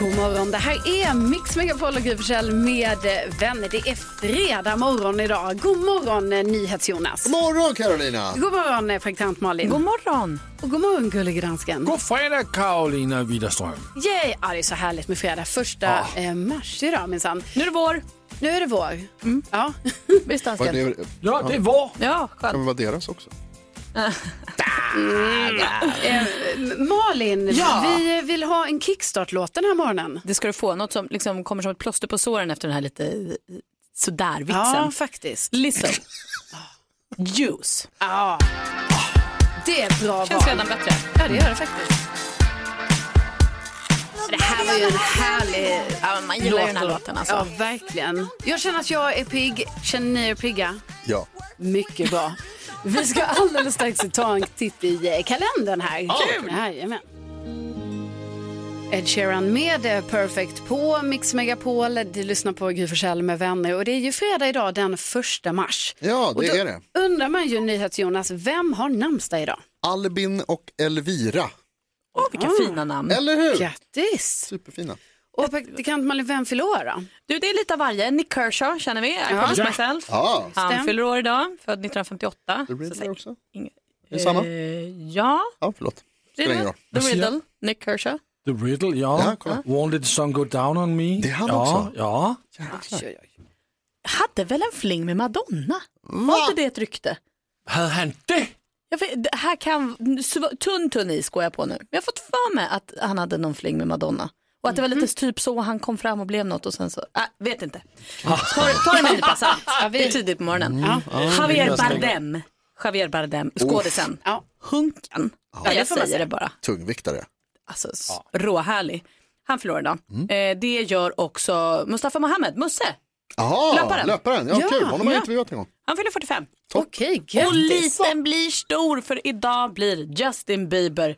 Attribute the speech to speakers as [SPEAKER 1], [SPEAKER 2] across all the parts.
[SPEAKER 1] God morgon, det här är Mix Megapol och Gry Forssell med eh, vänner. Det är fredag morgon idag. God morgon eh, NyhetsJonas.
[SPEAKER 2] God morgon Carolina!
[SPEAKER 1] God morgon praktikant Malin. God morgon. Och god morgon gullig dansken.
[SPEAKER 3] Mm. God fredag Karolina Widerström.
[SPEAKER 1] Yay! Ja, det är så härligt med fredag. Första
[SPEAKER 2] Ah.
[SPEAKER 1] eh, mars idag minsann. Nu är det vår. Mm. Nu är det vår. Ja.
[SPEAKER 4] Visst
[SPEAKER 2] Vad
[SPEAKER 4] dansken?
[SPEAKER 2] det,
[SPEAKER 3] Ja, det var.
[SPEAKER 4] Ja,
[SPEAKER 2] kan
[SPEAKER 4] skönt.
[SPEAKER 2] vi vara deras också?
[SPEAKER 1] Eh, Malin,
[SPEAKER 5] Ja.
[SPEAKER 1] vi vill ha en kickstart-låt den här morgonen.
[SPEAKER 5] Det ska du få, något som liksom kommer som ett plåster på såren efter den här lite eh, sådär-vitsen.
[SPEAKER 1] Ja, faktiskt.
[SPEAKER 5] Listen. Juice.
[SPEAKER 1] Ja. Det är ett bra val.
[SPEAKER 5] Känns redan bättre.
[SPEAKER 1] Ja, det gör det faktiskt. Det här var ju en härlig
[SPEAKER 5] Ja, man gillar ju den här låten alltså.
[SPEAKER 1] Ja, verkligen. Jag känner att jag är pigg. Känner ni er pigga?
[SPEAKER 2] Ja.
[SPEAKER 1] Mycket bra. Vi ska alldeles strax ta en titt i eh, kalendern här. Kul! Jajamän. Ed Sheeran med eh, Perfect på Mix Megapol. Du lyssnar på Gry Forssell med vänner och det är ju fredag idag den första mars.
[SPEAKER 2] Ja,
[SPEAKER 1] Och
[SPEAKER 2] det
[SPEAKER 1] då
[SPEAKER 2] är det.
[SPEAKER 1] undrar man ju NyhetsJonas, vem har namnsdag idag?
[SPEAKER 2] Albin och Elvira.
[SPEAKER 5] Åh, vilka fina namn.
[SPEAKER 2] Eller hur?
[SPEAKER 1] Grattis!
[SPEAKER 2] Superfina.
[SPEAKER 1] Och praktikant Malin, vem fyller år då?
[SPEAKER 5] Du, det är lite av varje. Nick Kershaw känner vi, I promise
[SPEAKER 3] Ja.
[SPEAKER 5] myself.
[SPEAKER 2] Ja,
[SPEAKER 5] Han
[SPEAKER 1] Stäm.
[SPEAKER 5] fyller år idag, född 1958.
[SPEAKER 2] The
[SPEAKER 5] Så säg-
[SPEAKER 2] Riddler också.
[SPEAKER 5] Inge-
[SPEAKER 2] Är det samma?
[SPEAKER 5] Eh, ja,
[SPEAKER 2] Ja, förlåt. Spelar ingen
[SPEAKER 5] Riddle, The
[SPEAKER 2] roll.
[SPEAKER 3] ser-
[SPEAKER 5] Riddle, Nick Kershaw.
[SPEAKER 3] The Riddle, ja.
[SPEAKER 2] Ja, kolla.
[SPEAKER 3] Won't let the sun go down on me.
[SPEAKER 2] Det är han
[SPEAKER 3] ja,
[SPEAKER 2] också.
[SPEAKER 3] Ja,
[SPEAKER 5] Hade väl en fling med Madonna? Var inte det ett rykte?
[SPEAKER 3] Hade han det?
[SPEAKER 5] Jag vet, det här kan, sv- tunn tunn is går jag på nu. Men jag har fått för mig att han hade någon fling med Madonna. Och att det var lite typ så han kom fram och blev något och sen så, äh, vet inte.
[SPEAKER 2] Ah.
[SPEAKER 5] Ta, ta det med en nypa salt. Det är tidigt på morgonen. Javier Bardem. Javier Bardem, skådisen.
[SPEAKER 1] Ja.
[SPEAKER 5] Hunken. Ja, jag säger det bara.
[SPEAKER 2] Tungviktare.
[SPEAKER 5] Alltså, s- råhärlig. Han förlorar idag.
[SPEAKER 2] Mm.
[SPEAKER 5] Eh, det gör också Mustafa Mohamed, Musse.
[SPEAKER 2] Jaha,
[SPEAKER 5] Löparen.
[SPEAKER 2] löparen. Ja, kul. Honom har jag intervjuat en gång.
[SPEAKER 5] Han fyller 45.
[SPEAKER 1] Okej,
[SPEAKER 5] Och
[SPEAKER 1] grattis!
[SPEAKER 5] liten blir stor för idag blir Justin Bieber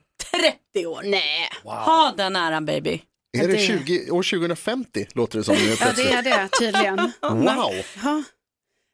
[SPEAKER 5] 30 år.
[SPEAKER 1] Nej,
[SPEAKER 5] Ha den äran baby.
[SPEAKER 2] Är det
[SPEAKER 1] det-
[SPEAKER 2] 20, år 2050 låter det som nu
[SPEAKER 1] ja det
[SPEAKER 2] plötsligt.
[SPEAKER 1] är det tydligen.
[SPEAKER 2] Wow!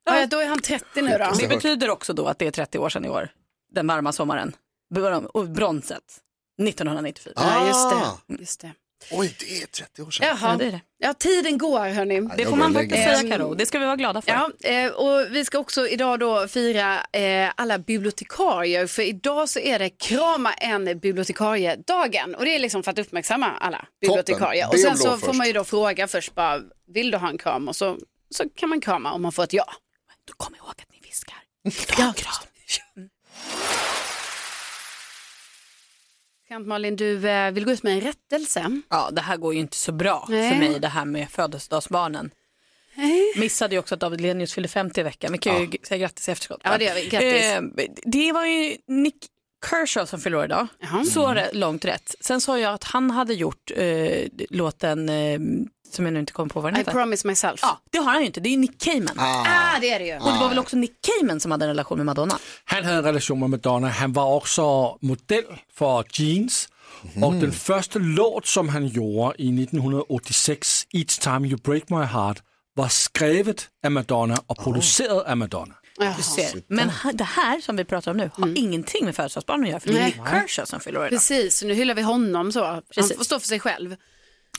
[SPEAKER 1] Ja, då är han 30 nu då.
[SPEAKER 5] Det
[SPEAKER 2] hört.
[SPEAKER 5] betyder också då att det är 30 år sedan i år. Den varma sommaren. Bron- och Bronset. 1994.
[SPEAKER 1] Ja, just
[SPEAKER 2] Ah.
[SPEAKER 1] det. Just det.
[SPEAKER 2] Oj, det är 30 år sedan.
[SPEAKER 5] Ja,
[SPEAKER 1] Jaha,
[SPEAKER 5] det är det.
[SPEAKER 1] ja, tiden går hörni.
[SPEAKER 5] Det
[SPEAKER 2] jag
[SPEAKER 5] får
[SPEAKER 2] går
[SPEAKER 5] man
[SPEAKER 2] och
[SPEAKER 5] faktiskt
[SPEAKER 2] lägger mig.
[SPEAKER 5] säga Karo. Det ska vi vara glada för.
[SPEAKER 1] Ja, eh, och vi ska också idag då fira eh, alla bibliotekarier för idag så är det krama en bibliotekarie-dagen och det är liksom för att uppmärksamma alla bibliotekarier.
[SPEAKER 2] Toppen.
[SPEAKER 1] Och
[SPEAKER 2] Det
[SPEAKER 1] sen
[SPEAKER 2] blev
[SPEAKER 1] så
[SPEAKER 2] då
[SPEAKER 1] får
[SPEAKER 2] först.
[SPEAKER 1] man ju då fråga först bara, vill du ha en kram? Och så, så kan man krama om man får ett ja.
[SPEAKER 5] Då Kom ihåg att ni viskar. Ja. kram.
[SPEAKER 1] Kant Malin, du eh, vill gå ut med en rättelse.
[SPEAKER 5] Ja, det här går ju inte så bra
[SPEAKER 1] Nej.
[SPEAKER 5] för mig det här med födelsedagsbarnen. Missade ju också att David Lenius fyllde 50 i veckan. Vi kan ju g- säga grattis i efterskott.
[SPEAKER 1] Ja,
[SPEAKER 5] va?
[SPEAKER 1] det gör vi. Grattis.
[SPEAKER 5] Eh, det var ju Nick Kershaw som fyllde år idag.
[SPEAKER 1] Jaha.
[SPEAKER 5] Så re- långt rätt. Sen sa jag att han hade gjort eh, låten eh, som jag nu inte kommer på vad den
[SPEAKER 1] I
[SPEAKER 5] heter.
[SPEAKER 1] promise myself.
[SPEAKER 5] Ja, det har han ju inte. Det är ju Nick Cayman.
[SPEAKER 1] Ah, det är det ju.
[SPEAKER 5] Och det var väl också Nick Cayman som hade en relation med Madonna.
[SPEAKER 3] Han hade en relation med Madonna. Han var också modell för Jeans.
[SPEAKER 2] Mhm.
[SPEAKER 3] Och den första låt som han gjorde i 1986, Each time you break my heart, var skrivet av Madonna och producerad av Madonna.
[SPEAKER 1] Jaha. Mm.
[SPEAKER 5] Du ser. Men ha- det här som vi pratar om nu har ingenting med födelsedagsbarnen att göra. För det är Nick Kershaw som fyller år idag.
[SPEAKER 1] Precis, så nu hyllar vi honom så. Han
[SPEAKER 5] Precis.
[SPEAKER 1] får stå för sig själv.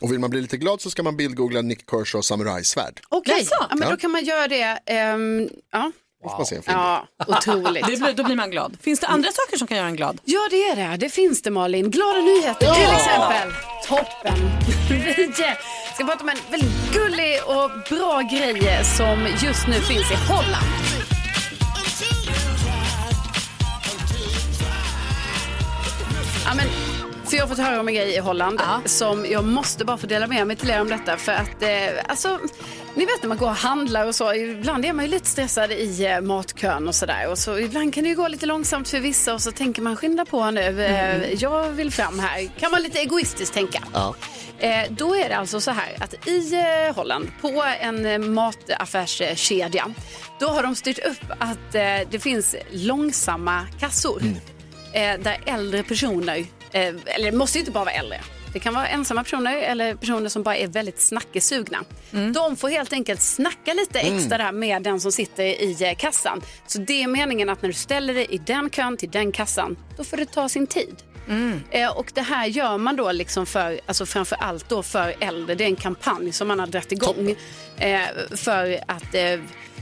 [SPEAKER 2] Och vill man bli lite glad så ska man bildgoogla Nick Kershaw samurajsvärd.
[SPEAKER 1] Okej,
[SPEAKER 5] Jaså?
[SPEAKER 1] ja, men då kan man göra det. ehm, ja.
[SPEAKER 2] Då får man se en film.
[SPEAKER 1] ja, otroligt.
[SPEAKER 5] Det blir, då blir man glad. Finns det andra saker som kan göra en glad?
[SPEAKER 1] Ja, det är det. Det finns det, Malin. Glada nyheter, till exempel. Toppen. Vi eh, ska prata om en väldigt gullig och bra grej som just nu finns i Holland. Ja, men Så jag har fått höra om en grej i Holland som jag måste bara få dela med mig till er om detta. För att, eh, alltså, ni vet när man går och handlar och så, ibland är man ju lite stressad i eh, matkön och sådär. Och så ibland kan det ju gå lite långsamt för vissa och så tänker man skynda på nu, eh, jag vill fram här. Kan man lite egoistiskt tänka. Eh, då är det alltså så här att i eh, Holland, på en eh, mataffärskedja, då har de styrt upp att eh, det finns långsamma kassor eh, där äldre personer, eh, eller det måste ju inte bara vara äldre, det kan vara ensamma personer eller personer som bara är väldigt snackesugna. De får helt enkelt snacka lite extra där med den som sitter i eh, kassan. Så det är meningen att när du ställer dig i den kön till den kassan, då får det ta sin tid.
[SPEAKER 5] Mm.
[SPEAKER 1] Eh, och det här gör man då liksom för, alltså framför allt då för äldre. Det är en kampanj som man har dragit igång eh, för att eh,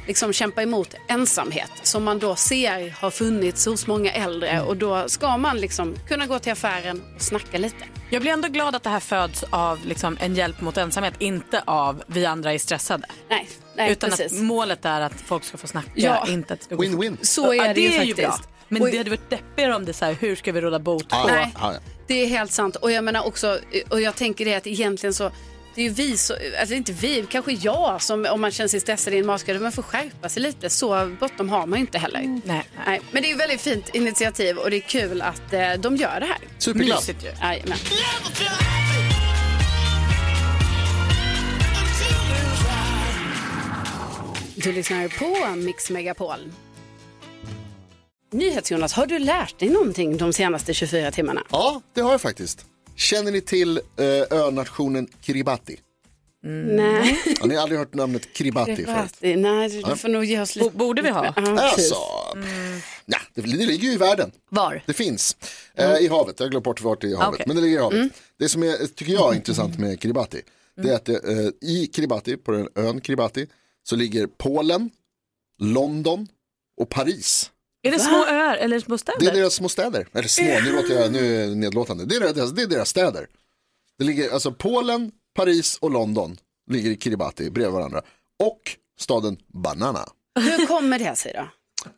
[SPEAKER 1] liksom kämpa emot ensamhet som man då ser har funnits hos många äldre och då ska man liksom kunna gå till affären och snacka lite.
[SPEAKER 6] Jag blir ändå glad att det här föds av liksom, en hjälp mot ensamhet, inte av vi andra är stressade.
[SPEAKER 1] Nej, nej
[SPEAKER 6] Utan
[SPEAKER 1] precis.
[SPEAKER 6] att målet är att folk ska få snacka,
[SPEAKER 1] Ja.
[SPEAKER 6] inte att det ska gå
[SPEAKER 2] Win-win.
[SPEAKER 1] Så är
[SPEAKER 6] Ja,
[SPEAKER 1] det, ju faktiskt.
[SPEAKER 6] bra. Men
[SPEAKER 1] Och-
[SPEAKER 6] det hade varit deppigare om det är så här, hur ska vi råda bot på?
[SPEAKER 2] Ah, Ja,
[SPEAKER 1] Nej.
[SPEAKER 2] ja, ja.
[SPEAKER 1] Det är helt sant. Och jag menar också, eh, och jag tänker det att egentligen så, det är ju vi, så, alltså inte vi, kanske jag som om man känner sig stressad i en matkö, man får skärpa sig lite. Så bråttom har man ju inte heller.
[SPEAKER 5] Mm.
[SPEAKER 6] Nej.
[SPEAKER 1] Nej, men det är ju väldigt fint initiativ och det är kul att eh, de gör det här.
[SPEAKER 2] Superglad.
[SPEAKER 6] Mysigt ju.
[SPEAKER 1] Jajamän. Du lyssnar på Mix Megapol. NyhetsJonas, har du lärt dig någonting de senaste 24 timmarna?
[SPEAKER 2] Ja, det har jag faktiskt. Känner ni till eh, önationen Kiribati?
[SPEAKER 6] Mm.
[SPEAKER 1] Nej.
[SPEAKER 2] Har ni aldrig hört namnet Kiribati förut?
[SPEAKER 1] Kiribati. Nej, du- du får nog ge oss
[SPEAKER 6] Bo-
[SPEAKER 1] lite.
[SPEAKER 6] Borde vi ha?
[SPEAKER 1] Ja, precis.
[SPEAKER 2] Alltså, ja, det, det ligger ju i världen.
[SPEAKER 6] Var?
[SPEAKER 2] Det finns. Eh, I havet, jag har glömt bort vart det är i havet.
[SPEAKER 6] Okej.
[SPEAKER 2] Men det ligger i havet. Det som är, tycker jag är intressant med Kiribati, det är att det, eh, i Kiribati, på den ön Kiribati, så ligger Polen, London och Paris.
[SPEAKER 6] Är det små öar eller små
[SPEAKER 2] Det är
[SPEAKER 6] städer?
[SPEAKER 2] deras små städer. Eller små, nu låter jag nu är jag nedlåtande. Det är deras, det är deras städer. Det ligger alltså Polen, Paris och London ligger i Kiribati bredvid varandra. Och staden Banana.
[SPEAKER 1] Hur kommer det sig då?
[SPEAKER 2] Eh,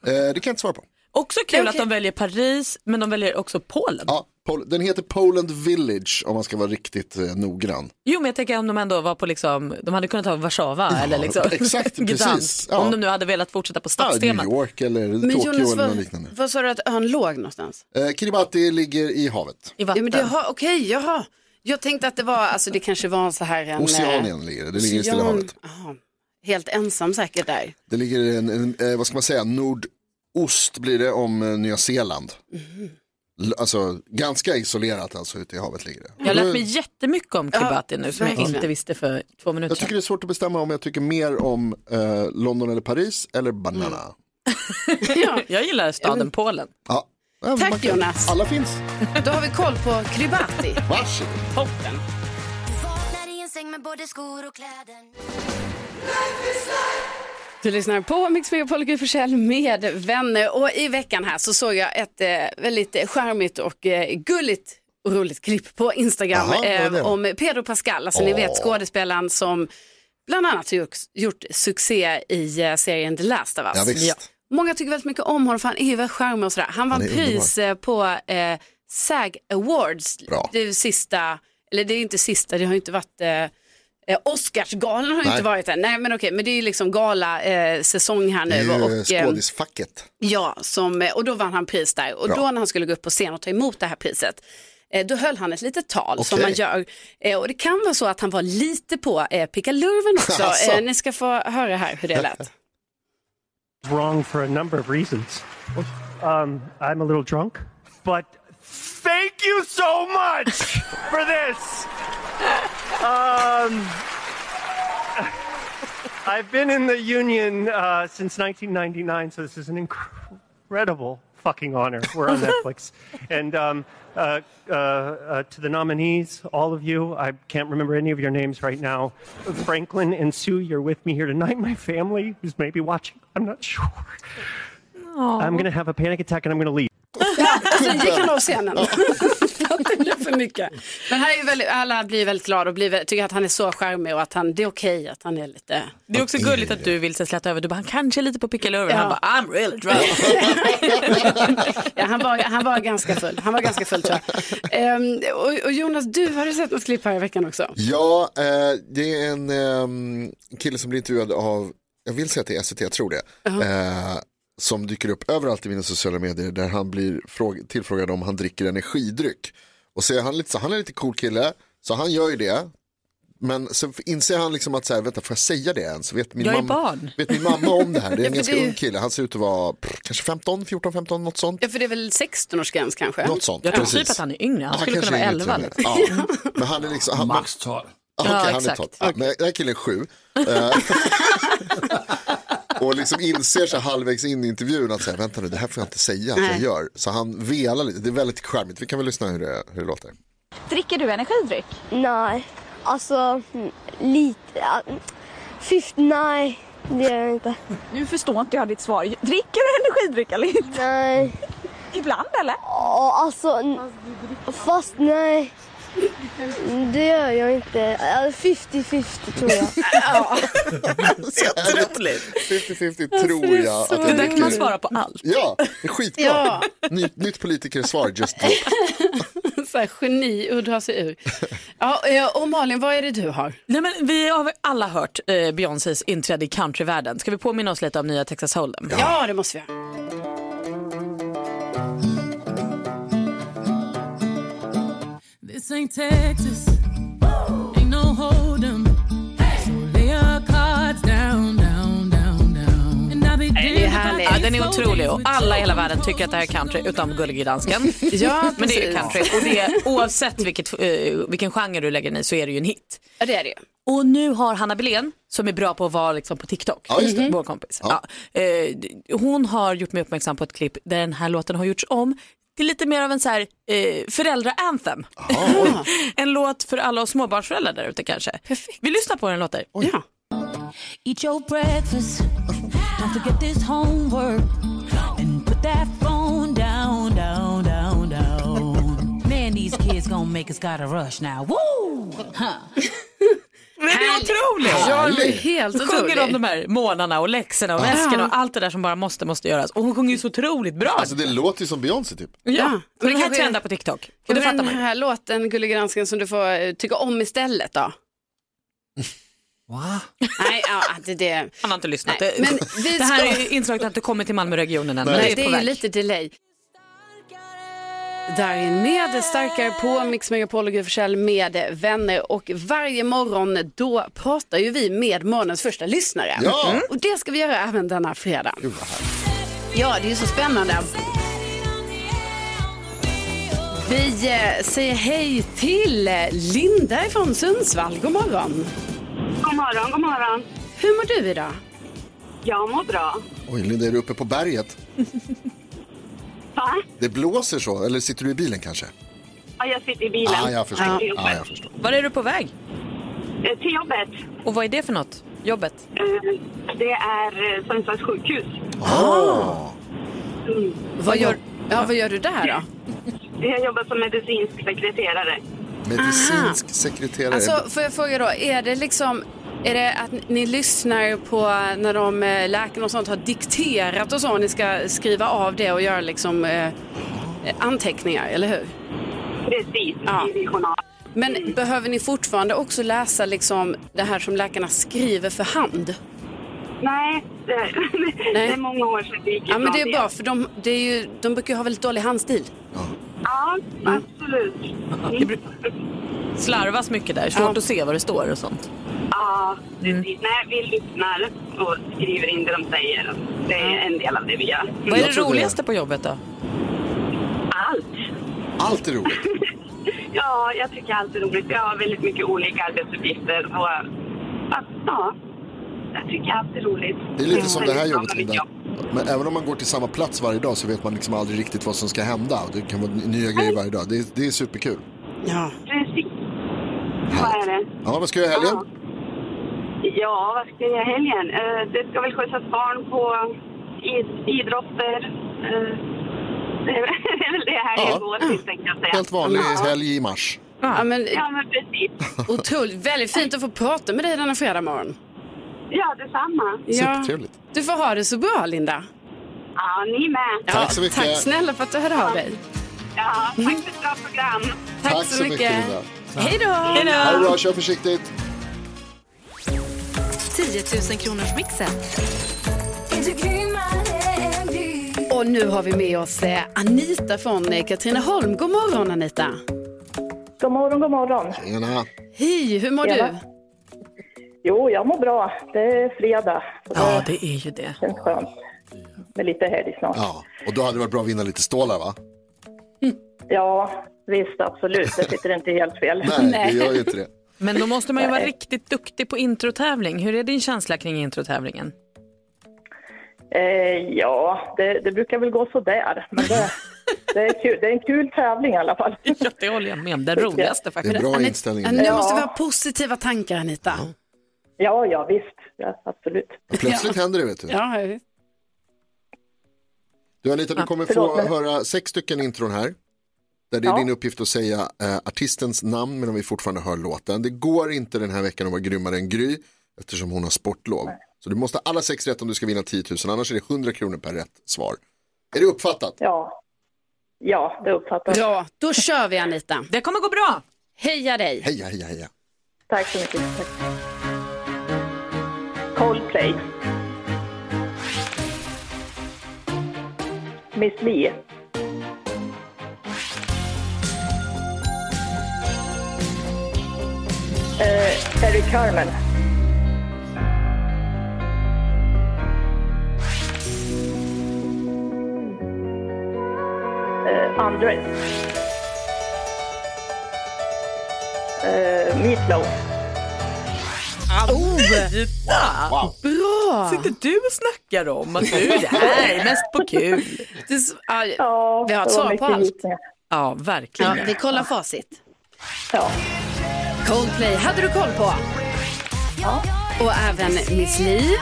[SPEAKER 2] det kan jag inte svara på.
[SPEAKER 6] Också kul att de väljer Paris, men de väljer också Polen.
[SPEAKER 2] Ja, Pol- den heter Poland Village om man ska vara riktigt eh, noggrann.
[SPEAKER 6] Jo, men jag tänker om de ändå var på liksom, de hade kunnat ha Warszawa eller liksom
[SPEAKER 2] exakt, precis.
[SPEAKER 6] Gdansk.
[SPEAKER 2] Ja.
[SPEAKER 6] Om de nu hade velat fortsätta på
[SPEAKER 2] Ah, New
[SPEAKER 6] stadstemat.
[SPEAKER 2] York eller Tokyo eller något
[SPEAKER 1] vad,
[SPEAKER 2] liknande.
[SPEAKER 1] vad sa du att ön låg någonstans?
[SPEAKER 2] Eh, Kiribati ligger i havet.
[SPEAKER 6] I
[SPEAKER 1] Ja,
[SPEAKER 6] vatten.
[SPEAKER 1] men det, jaha, okej, jaha. Jag tänkte att det var, alltså det kanske var så här en... eh,
[SPEAKER 2] Oceanien ligger det, det ligger i Stilla
[SPEAKER 1] ocean.
[SPEAKER 2] havet.
[SPEAKER 1] Jaha. Helt ensam säkert där.
[SPEAKER 2] Det ligger en, en eh, vad ska man säga, nordost blir det om eh, Nya Zeeland.
[SPEAKER 1] Mm.
[SPEAKER 2] L- Alltså ganska isolerat alltså ute i havet ligger det. Mm.
[SPEAKER 6] Jag har lärt mig jättemycket om Kiribati nu som jag
[SPEAKER 1] verkligen.
[SPEAKER 6] inte visste för två minuter
[SPEAKER 2] Jag tycker
[SPEAKER 6] sedan.
[SPEAKER 2] det är svårt att bestämma om jag tycker mer om eh, London eller Paris eller Banana.
[SPEAKER 1] Mm. Ja,
[SPEAKER 6] Jag gillar staden Polen.
[SPEAKER 2] Ja. Eh,
[SPEAKER 1] Tack,
[SPEAKER 2] man kan-
[SPEAKER 1] Jonas.
[SPEAKER 2] Alla finns.
[SPEAKER 1] då har vi koll på Kiribati.
[SPEAKER 2] Varsågod.
[SPEAKER 1] Toppen. Du lyssnar på Mix Megapol och Gry Forssell med vänner och i veckan här så såg jag ett eh, väldigt charmigt och eh, gulligt och roligt klipp på Instagram
[SPEAKER 2] Jaha, vad är det?
[SPEAKER 1] eh, om Pedro Pascal, alltså ni
[SPEAKER 2] Åh.
[SPEAKER 1] vet skådespelaren som bland annat har gjort, gjort succé i eh, serien The Last of Us.
[SPEAKER 2] Ja, visst.
[SPEAKER 1] Många tycker väldigt mycket om honom för han är ju väldigt charmig och sådär. Han vann
[SPEAKER 2] är
[SPEAKER 1] pris eh, på eh, SAG Awards,
[SPEAKER 2] Bra.
[SPEAKER 1] det är ju sista, eller det är ju inte sista, det har ju inte varit eh, Eh, Oscarsgalan har ju
[SPEAKER 2] Nej.
[SPEAKER 1] inte varit än. Nej men okej, men det är ju liksom gala eh, säsong här
[SPEAKER 2] Det
[SPEAKER 1] nu.
[SPEAKER 2] är ju
[SPEAKER 1] och, eh,
[SPEAKER 2] skådisfacket.
[SPEAKER 1] ja, som, eh, och då vann han pris där. Och
[SPEAKER 2] Bra.
[SPEAKER 1] då när han skulle gå upp på scen och ta emot det här priset, eh, då höll han ett litet tal som
[SPEAKER 2] Okej.
[SPEAKER 1] man gör. Eh, och det kan vara så att han var lite på eh, pickalurven också.
[SPEAKER 2] Alltså.
[SPEAKER 1] Eh, ni ska få höra här hur det lät.
[SPEAKER 7] wrong for a number of reasons. Um, I'm a little drunk, but thank you so much for this. Um, I've been in the union uh, since 1999, so this is an incredible fucking honor. We're on Netflix, and um, uh, uh, uh, to the nominees, all of you. I can't remember any of your names right now. Franklin and Sue, you're with me here tonight. My family, who's maybe watching, I'm not sure. I'm gonna have a panic attack and I'm gonna leave.
[SPEAKER 1] sen alltså, gick han av scenen. Det blev för mycket. Men här är ju väldigt, alla blir väldigt glada och blir, väldigt- tycker att han är så charmig och att han, det är okej att han är lite...
[SPEAKER 5] Det är också gulligt att du vill så släta över. Du bara, han kanske är lite på pickalurven.
[SPEAKER 1] Ja.
[SPEAKER 5] Han bara, I'm really drunk.
[SPEAKER 1] Ja, han, var, han var ganska full, han var ganska full tror jag. Ehm, och, och Jonas, du har du sett något klipp här i veckan också.
[SPEAKER 2] Ja, eh, det är en ehm, kille som blir intervjuad av, jag vill säga att det är SVT, jag tror det, eh, som dyker upp överallt i mina sociala medier där han blir fråg- tillfrågad om han dricker energidryck. Och så är han, lite, så han är en lite cool kille, så han gör ju det. Men så inser han liksom att, så här, vänta, får jag säga det ens? Vet min,
[SPEAKER 6] Jag är
[SPEAKER 2] mamma,
[SPEAKER 6] barn.
[SPEAKER 2] vet min mamma om det här? Det är en
[SPEAKER 1] för
[SPEAKER 2] ganska
[SPEAKER 1] det är ju-
[SPEAKER 2] ung kille, han ser ut att vara pff, kanske 15, 14, 15, något sånt.
[SPEAKER 1] Ja, för det är väl 16-årsgräns kanske?
[SPEAKER 2] Något sånt.
[SPEAKER 6] Jag tror
[SPEAKER 2] precis.
[SPEAKER 6] typ att han är yngre. Han
[SPEAKER 2] Ja,
[SPEAKER 6] skulle
[SPEAKER 2] kanske
[SPEAKER 6] kunna vara
[SPEAKER 2] är yngre till
[SPEAKER 6] 11.
[SPEAKER 2] och med.
[SPEAKER 6] Liksom.
[SPEAKER 2] Ja. Men han är liksom, han,
[SPEAKER 3] Max 12.
[SPEAKER 2] Ah, Okej,
[SPEAKER 6] Ja,
[SPEAKER 2] han är
[SPEAKER 6] exakt.
[SPEAKER 2] tolv. Ja, men den här killen är sju. Eh, och liksom inser sig halvvägs in i intervjun att säga, vänta nu, det här får jag inte säga att jag gör. Så han velar lite, det är väldigt charmigt. Vi kan väl lyssna hur det, hur det låter.
[SPEAKER 8] Dricker du energidryck?
[SPEAKER 7] Nej, alltså lite. Fiff, nej, det gör jag inte.
[SPEAKER 8] Nu förstår inte jag ditt svar. Dricker du energidryck eller inte?
[SPEAKER 7] Nej,
[SPEAKER 8] Ibland eller?
[SPEAKER 7] alltså, fast nej. Mm, Det gör jag inte. 50-50 tror jag.
[SPEAKER 2] Otroligt. 50-50 tror jag att
[SPEAKER 6] Alltså, Det
[SPEAKER 2] jag
[SPEAKER 6] där kan man
[SPEAKER 2] dricker.
[SPEAKER 6] svara på allt.
[SPEAKER 2] Ja, det är skitbra.
[SPEAKER 1] Ja.
[SPEAKER 2] Nytt, nytt politikersvar, just drop.
[SPEAKER 1] Så här, geni och dra sig ur. Ja, eh, och Malin, vad är det du har?
[SPEAKER 5] Nej, men vi har väl alla hört eh, Beyoncés inträde i countryvärlden. Ska vi påminna oss lite om nya Texas Hold'em?
[SPEAKER 1] Ja, det måste vi ha.
[SPEAKER 5] This ain't Texas, Oh, ain't no hold'em. So lay your cards down, down, down, down. And I'll be
[SPEAKER 1] det är härligt.
[SPEAKER 5] Ja, den är otrolig och alla i hela världen tycker att det här är country utom gullige dansken.
[SPEAKER 1] Ja,
[SPEAKER 5] Men det är ju
[SPEAKER 1] precis.
[SPEAKER 5] country och det, är- oavsett vilket, eh, vilken genre du lägger den i så är det ju en hit.
[SPEAKER 1] Ja, det är det ju.
[SPEAKER 5] Och nu har Hanna Belén, som är bra på att vara liksom på TikTok,
[SPEAKER 2] Ja, just det.
[SPEAKER 5] vår kompis.
[SPEAKER 2] Ja.
[SPEAKER 5] Ja. Eh, d- hon har gjort mig uppmärksam på ett klipp där den här låten har gjorts om till lite mer av en så här, eh, föräldra-anthem. en låt för alla oss småbarnsföräldrar där ute kanske. Vi lyssnar på hur den låter.
[SPEAKER 1] Ja.
[SPEAKER 8] Eat your breakfast. Don't forget this homework. And put that phone down, down, down, down. Man, these kids gonna make us gotta rush now. Woo!
[SPEAKER 5] Den är otrolig!
[SPEAKER 1] Ja,
[SPEAKER 2] Härligt.
[SPEAKER 1] det är helt
[SPEAKER 5] Sjunger om
[SPEAKER 1] otroligt.
[SPEAKER 5] de här månaderna och läxorna och väskorna och allt det där som bara måste, måste göras. Och hon sjunger ju så otroligt bra.
[SPEAKER 2] Alltså det låter ju som Beyoncé typ.
[SPEAKER 5] ja.
[SPEAKER 1] Men
[SPEAKER 5] Men
[SPEAKER 1] det
[SPEAKER 5] det här
[SPEAKER 1] kanske-
[SPEAKER 5] trendar på TikTok. Och
[SPEAKER 1] Och
[SPEAKER 5] det
[SPEAKER 1] den
[SPEAKER 5] fattar man ju.
[SPEAKER 1] här låten, Gullige Dansken, som du får eh, tycka om istället då?
[SPEAKER 3] Va?
[SPEAKER 1] Nej, ja, det, det.
[SPEAKER 5] Han har inte lyssnat.
[SPEAKER 1] Nej,
[SPEAKER 5] Det,
[SPEAKER 1] men vi
[SPEAKER 5] det här
[SPEAKER 1] ska-
[SPEAKER 5] är ju inslaget har inte kommit till Malmöregionen än. Men
[SPEAKER 1] Nej,
[SPEAKER 5] det är,
[SPEAKER 1] det
[SPEAKER 5] på
[SPEAKER 1] är
[SPEAKER 5] väg.
[SPEAKER 1] lite delay. Darin med Starkare på Mix Megapol och Gry Forssell med vänner och varje morgon då pratar ju vi med morgonens första lyssnare.
[SPEAKER 2] Ja.
[SPEAKER 1] Mm. Och det ska vi göra även denna fredag. Ja, det är ju så spännande. Vi eh, säger hej till eh, Linda från Sundsvall. God morgon.
[SPEAKER 7] God morgon, god morgon.
[SPEAKER 1] Hur mår du idag?
[SPEAKER 7] Jag mår bra.
[SPEAKER 2] Oj, Linda, är du uppe på berget?
[SPEAKER 7] Va?
[SPEAKER 2] Det blåser så, eller sitter du i bilen kanske?
[SPEAKER 7] Ja, jag sitter i bilen.
[SPEAKER 2] Ja, ah, jag förstår.
[SPEAKER 7] Ja.
[SPEAKER 2] Ah, jag förstår.
[SPEAKER 5] Var är du på väg?
[SPEAKER 7] Eh, Till jobbet.
[SPEAKER 5] Och vad är det för något? Jobbet?
[SPEAKER 7] Eh, Det är eh, Sundsvalls sjukhus.
[SPEAKER 2] Ah.
[SPEAKER 1] Vad gör, ja, vad gör du där då?
[SPEAKER 7] Jag jobbar som medicinsk sekreterare.
[SPEAKER 2] Medicinsk sekreterare.
[SPEAKER 1] Ah. Alltså, får jag fråga då, är det liksom är det att ni lyssnar på när de eh, läkarna och sånt har dikterat och så, och ni ska skriva av det och göra liksom eh, anteckningar, eller hur?
[SPEAKER 7] Precis,
[SPEAKER 1] Ja.
[SPEAKER 7] i journal.
[SPEAKER 1] Men behöver ni fortfarande också läsa liksom det här som läkarna skriver för hand?
[SPEAKER 7] Nej, det, det är många år sedan vi gick
[SPEAKER 1] Ja, men det är
[SPEAKER 7] ifrån
[SPEAKER 1] bra, för de, det är ju, de brukar ju ha väldigt dålig handstil.
[SPEAKER 7] Ja, absolut. Mm.
[SPEAKER 5] Slarvas mycket där, svårt att se vad det står och sånt.
[SPEAKER 2] Mm.
[SPEAKER 7] Ja, precis. Nej, vi lyssnar och skriver in det de säger. Det är en del av det vi gör.
[SPEAKER 5] Vad är
[SPEAKER 2] Jag
[SPEAKER 5] det
[SPEAKER 2] trodde det.
[SPEAKER 5] roligaste på jobbet då?
[SPEAKER 7] Allt.
[SPEAKER 2] Allt är roligt.
[SPEAKER 7] Ja, jag tycker allt är roligt. Jag har väldigt mycket olika arbetsuppgifter. Och, ja, jag tycker allt är roligt.
[SPEAKER 2] Det är lite som det här
[SPEAKER 7] väldigt bra
[SPEAKER 2] jobbet
[SPEAKER 7] med mitt
[SPEAKER 2] Linda.
[SPEAKER 7] jobb.
[SPEAKER 2] Men även om man går till samma plats varje dag så vet man liksom aldrig riktigt vad som ska hända. Det kan vara nya grejer varje dag. Det är, det är superkul.
[SPEAKER 1] Ja.
[SPEAKER 7] Precis. Vad är det?
[SPEAKER 2] Ja, vad ska jag göra i helgen?
[SPEAKER 7] Ja, vad ska jag göra i helgen? Eh, Det ska väl skjutsas barn på id- idrotter. eh,
[SPEAKER 9] det är väl det här
[SPEAKER 2] Ja.
[SPEAKER 9] jag går till, tänkte jag säga.
[SPEAKER 2] Helt vanlig
[SPEAKER 9] Ja.
[SPEAKER 2] helg i mars.
[SPEAKER 1] Ja, men,
[SPEAKER 9] Ja, men precis.
[SPEAKER 1] otroligt, väldigt fint att få prata med dig denna fredag morgon.
[SPEAKER 9] Ja, detsamma.
[SPEAKER 2] Supertrevligt.
[SPEAKER 1] Du får ha det så bra, Linda.
[SPEAKER 9] Ja, ni med.
[SPEAKER 2] Tack så mycket.
[SPEAKER 1] Tack snälla för att du hörde av dig.
[SPEAKER 9] Ja, tack för ett bra program.
[SPEAKER 1] Tack så mycket.
[SPEAKER 2] Linda.
[SPEAKER 1] Hej då!
[SPEAKER 2] Ha det bra, kör försiktigt.
[SPEAKER 4] 10 000 kronors mixen.
[SPEAKER 1] Och nu har vi med oss eh, Anita från eh, Katrineholm. God morgon Anita!
[SPEAKER 10] God morgon, god morgon.
[SPEAKER 2] Tjena.
[SPEAKER 1] Hej, hur mår
[SPEAKER 10] Tjena.
[SPEAKER 1] du?
[SPEAKER 10] Jo, jag mår bra. Det är fredag.
[SPEAKER 5] Ja, det är ju det.
[SPEAKER 10] känns skönt. Med lite helg snart.
[SPEAKER 2] Ja, och då hade det varit bra att vinna lite stålar va?
[SPEAKER 10] Ja, visst, absolut. Det sitter inte helt fel.
[SPEAKER 2] Nej, det gör ju inte det.
[SPEAKER 5] Men då måste man ju vara
[SPEAKER 7] Eh.
[SPEAKER 10] Nej.
[SPEAKER 5] riktigt duktig på introtävling. Hur är din känsla kring introtävlingen?
[SPEAKER 10] Eh, ja, det, det brukar väl gå sådär. Men det, det, är kul. det är en kul tävling i alla fall.
[SPEAKER 5] Ja, det håller jag med om. Den roligaste faktiskt.
[SPEAKER 1] Anit- Nu
[SPEAKER 10] Ja.
[SPEAKER 1] måste vi ha positiva tankar Anita.
[SPEAKER 10] Ja, ja, visst. Ja, absolut.
[SPEAKER 2] Plötsligt händer det vet du.
[SPEAKER 1] Ja, ja, visst.
[SPEAKER 2] Du Anita, du kommer
[SPEAKER 10] Förlåt,
[SPEAKER 2] få
[SPEAKER 10] men-
[SPEAKER 2] höra sex stycken intron här. Där det är
[SPEAKER 10] Ja.
[SPEAKER 2] din uppgift att säga eh, artistens namn medan vi fortfarande hör låten. Det går inte den här veckan att vara grymmare än Gry eftersom hon har sportlov. Så du måste ha alla sex rätt om du ska vinna 10 000 annars är det 100 kronor per rätt svar. Är det uppfattat?
[SPEAKER 10] Ja. Ja, det uppfattas.
[SPEAKER 1] Bra, då kör vi Anita.
[SPEAKER 5] Det kommer gå bra.
[SPEAKER 1] Heja dig.
[SPEAKER 2] Heja, heja, heja.
[SPEAKER 10] Tack så mycket. Tack. Coldplay. Miss Eh, Li. Eh, Eric Carmen. Eh, Andres. Eh, Meatloaf.
[SPEAKER 5] Anita!
[SPEAKER 1] Bra!
[SPEAKER 5] Sitter du och snackar om att du är här mest på kul?
[SPEAKER 1] Det, s- ja,
[SPEAKER 10] Ja,
[SPEAKER 1] vi har ett svar på allt.
[SPEAKER 5] Ja, verkligen.
[SPEAKER 1] Ja, vi kollar facit.
[SPEAKER 10] Ja.
[SPEAKER 1] Coldplay hade du koll på. Och även Miss Li.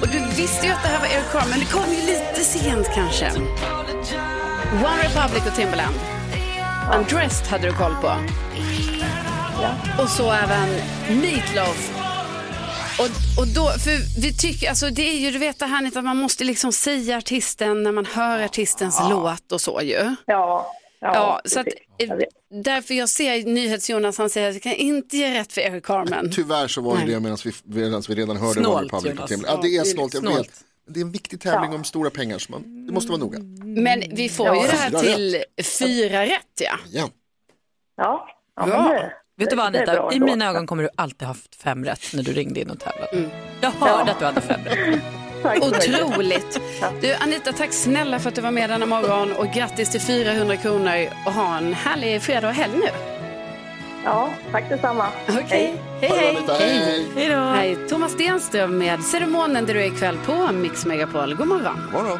[SPEAKER 1] Och du visste ju att det här var Eric Carmen, men det kom ju lite sent kanske. One Republic och Timbaland. Undressed hade du koll på. Och så även Meat Loaf. Och, och då, för vi tycker, alltså det är ju, du vet det här Anita, att man måste liksom säga artisten när man hör artistens låt och så ju.
[SPEAKER 10] Ja. Ja,
[SPEAKER 1] Ja, så att,
[SPEAKER 10] precis.
[SPEAKER 1] eh, därför jag ser NyhetsJonas, han säger att jag kan inte ge rätt för Eric Carmen.
[SPEAKER 2] Tyvärr så var det det medan vi, medan vi redan hörde
[SPEAKER 5] Snålt,
[SPEAKER 2] One Republic
[SPEAKER 5] Jonas.
[SPEAKER 2] och Timberlake. Ja, det är snålt, jag
[SPEAKER 5] Snålt.
[SPEAKER 2] vet. Men Det är en viktig tävling om stora pengar, så man, det måste vara noga.
[SPEAKER 5] Mm.
[SPEAKER 1] Men vi får ju det här
[SPEAKER 2] Fyra
[SPEAKER 1] till fyra rätt ja.
[SPEAKER 2] Ja.
[SPEAKER 10] Ja, ja,
[SPEAKER 1] Bra.
[SPEAKER 10] men det-
[SPEAKER 5] Vet du vad
[SPEAKER 10] det är
[SPEAKER 5] Anita,
[SPEAKER 10] bra
[SPEAKER 5] i
[SPEAKER 10] ändå.
[SPEAKER 5] mina ögon kommer du alltid ha haft fem rätt när du ringde in och tävlade. Jag hörde att du hade fem rätt.
[SPEAKER 10] Tack så mycket.
[SPEAKER 1] Otroligt. Du Anita, tack snälla för att du var med denna morgon och grattis till 400 kronor och ha en härlig fredag och helg nu.
[SPEAKER 10] Ja, tack detsamma.
[SPEAKER 1] Okej, hej
[SPEAKER 2] Ha det bra,
[SPEAKER 1] hej.
[SPEAKER 2] Anita. Hej, hej.
[SPEAKER 5] Hej då.
[SPEAKER 1] Hej, Thomas Stenström med Ceremonen där du är ikväll på Mix Megapol. God morgon.
[SPEAKER 2] God morgon.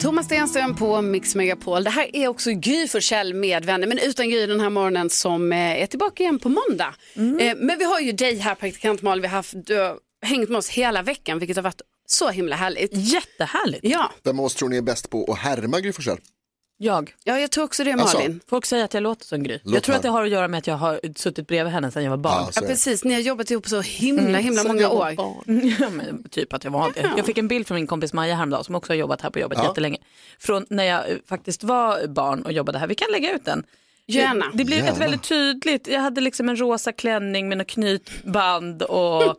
[SPEAKER 1] Thomas Stenström på Mix Megapol. Det här är också Gry Forssell med vänner, men utan Gry den här morgonen som eh, är tillbaka igen på måndag.
[SPEAKER 5] Mm.
[SPEAKER 1] Eh, Men vi har ju dig här, praktikant Malin. Vi har haft, du har hängt med oss hela veckan, vilket har varit så himla härligt.
[SPEAKER 5] Jättehärligt.
[SPEAKER 1] Ja,
[SPEAKER 2] Vem av oss tror ni är bäst på att härma Gry Forssell?
[SPEAKER 5] Jag.
[SPEAKER 1] ja jag tror också det,
[SPEAKER 2] Alltså,
[SPEAKER 1] Malin.
[SPEAKER 5] Folk säger att jag låter som Gry.
[SPEAKER 2] Låt
[SPEAKER 5] Jag tror att det
[SPEAKER 2] höra.
[SPEAKER 5] har att göra med att jag har suttit bredvid henne sedan jag var barn. Mm,
[SPEAKER 2] Ja,
[SPEAKER 1] ja,
[SPEAKER 2] så är det.
[SPEAKER 1] precis. Ni har jobbat ihop så himla, himla många år.
[SPEAKER 5] Ja, men typ att jag var det. Jag fick en bild från min kompis Maja häromdagen som också har jobbat här på jobbet
[SPEAKER 2] Ja.
[SPEAKER 5] jättelänge. Från när jag eh, faktiskt var barn och jobbade här. Vi kan lägga ut den.
[SPEAKER 1] Gärna.
[SPEAKER 5] Det blev ett
[SPEAKER 2] Gärna.
[SPEAKER 5] väldigt tydligt, jag hade liksom en rosa klänning med något knytband och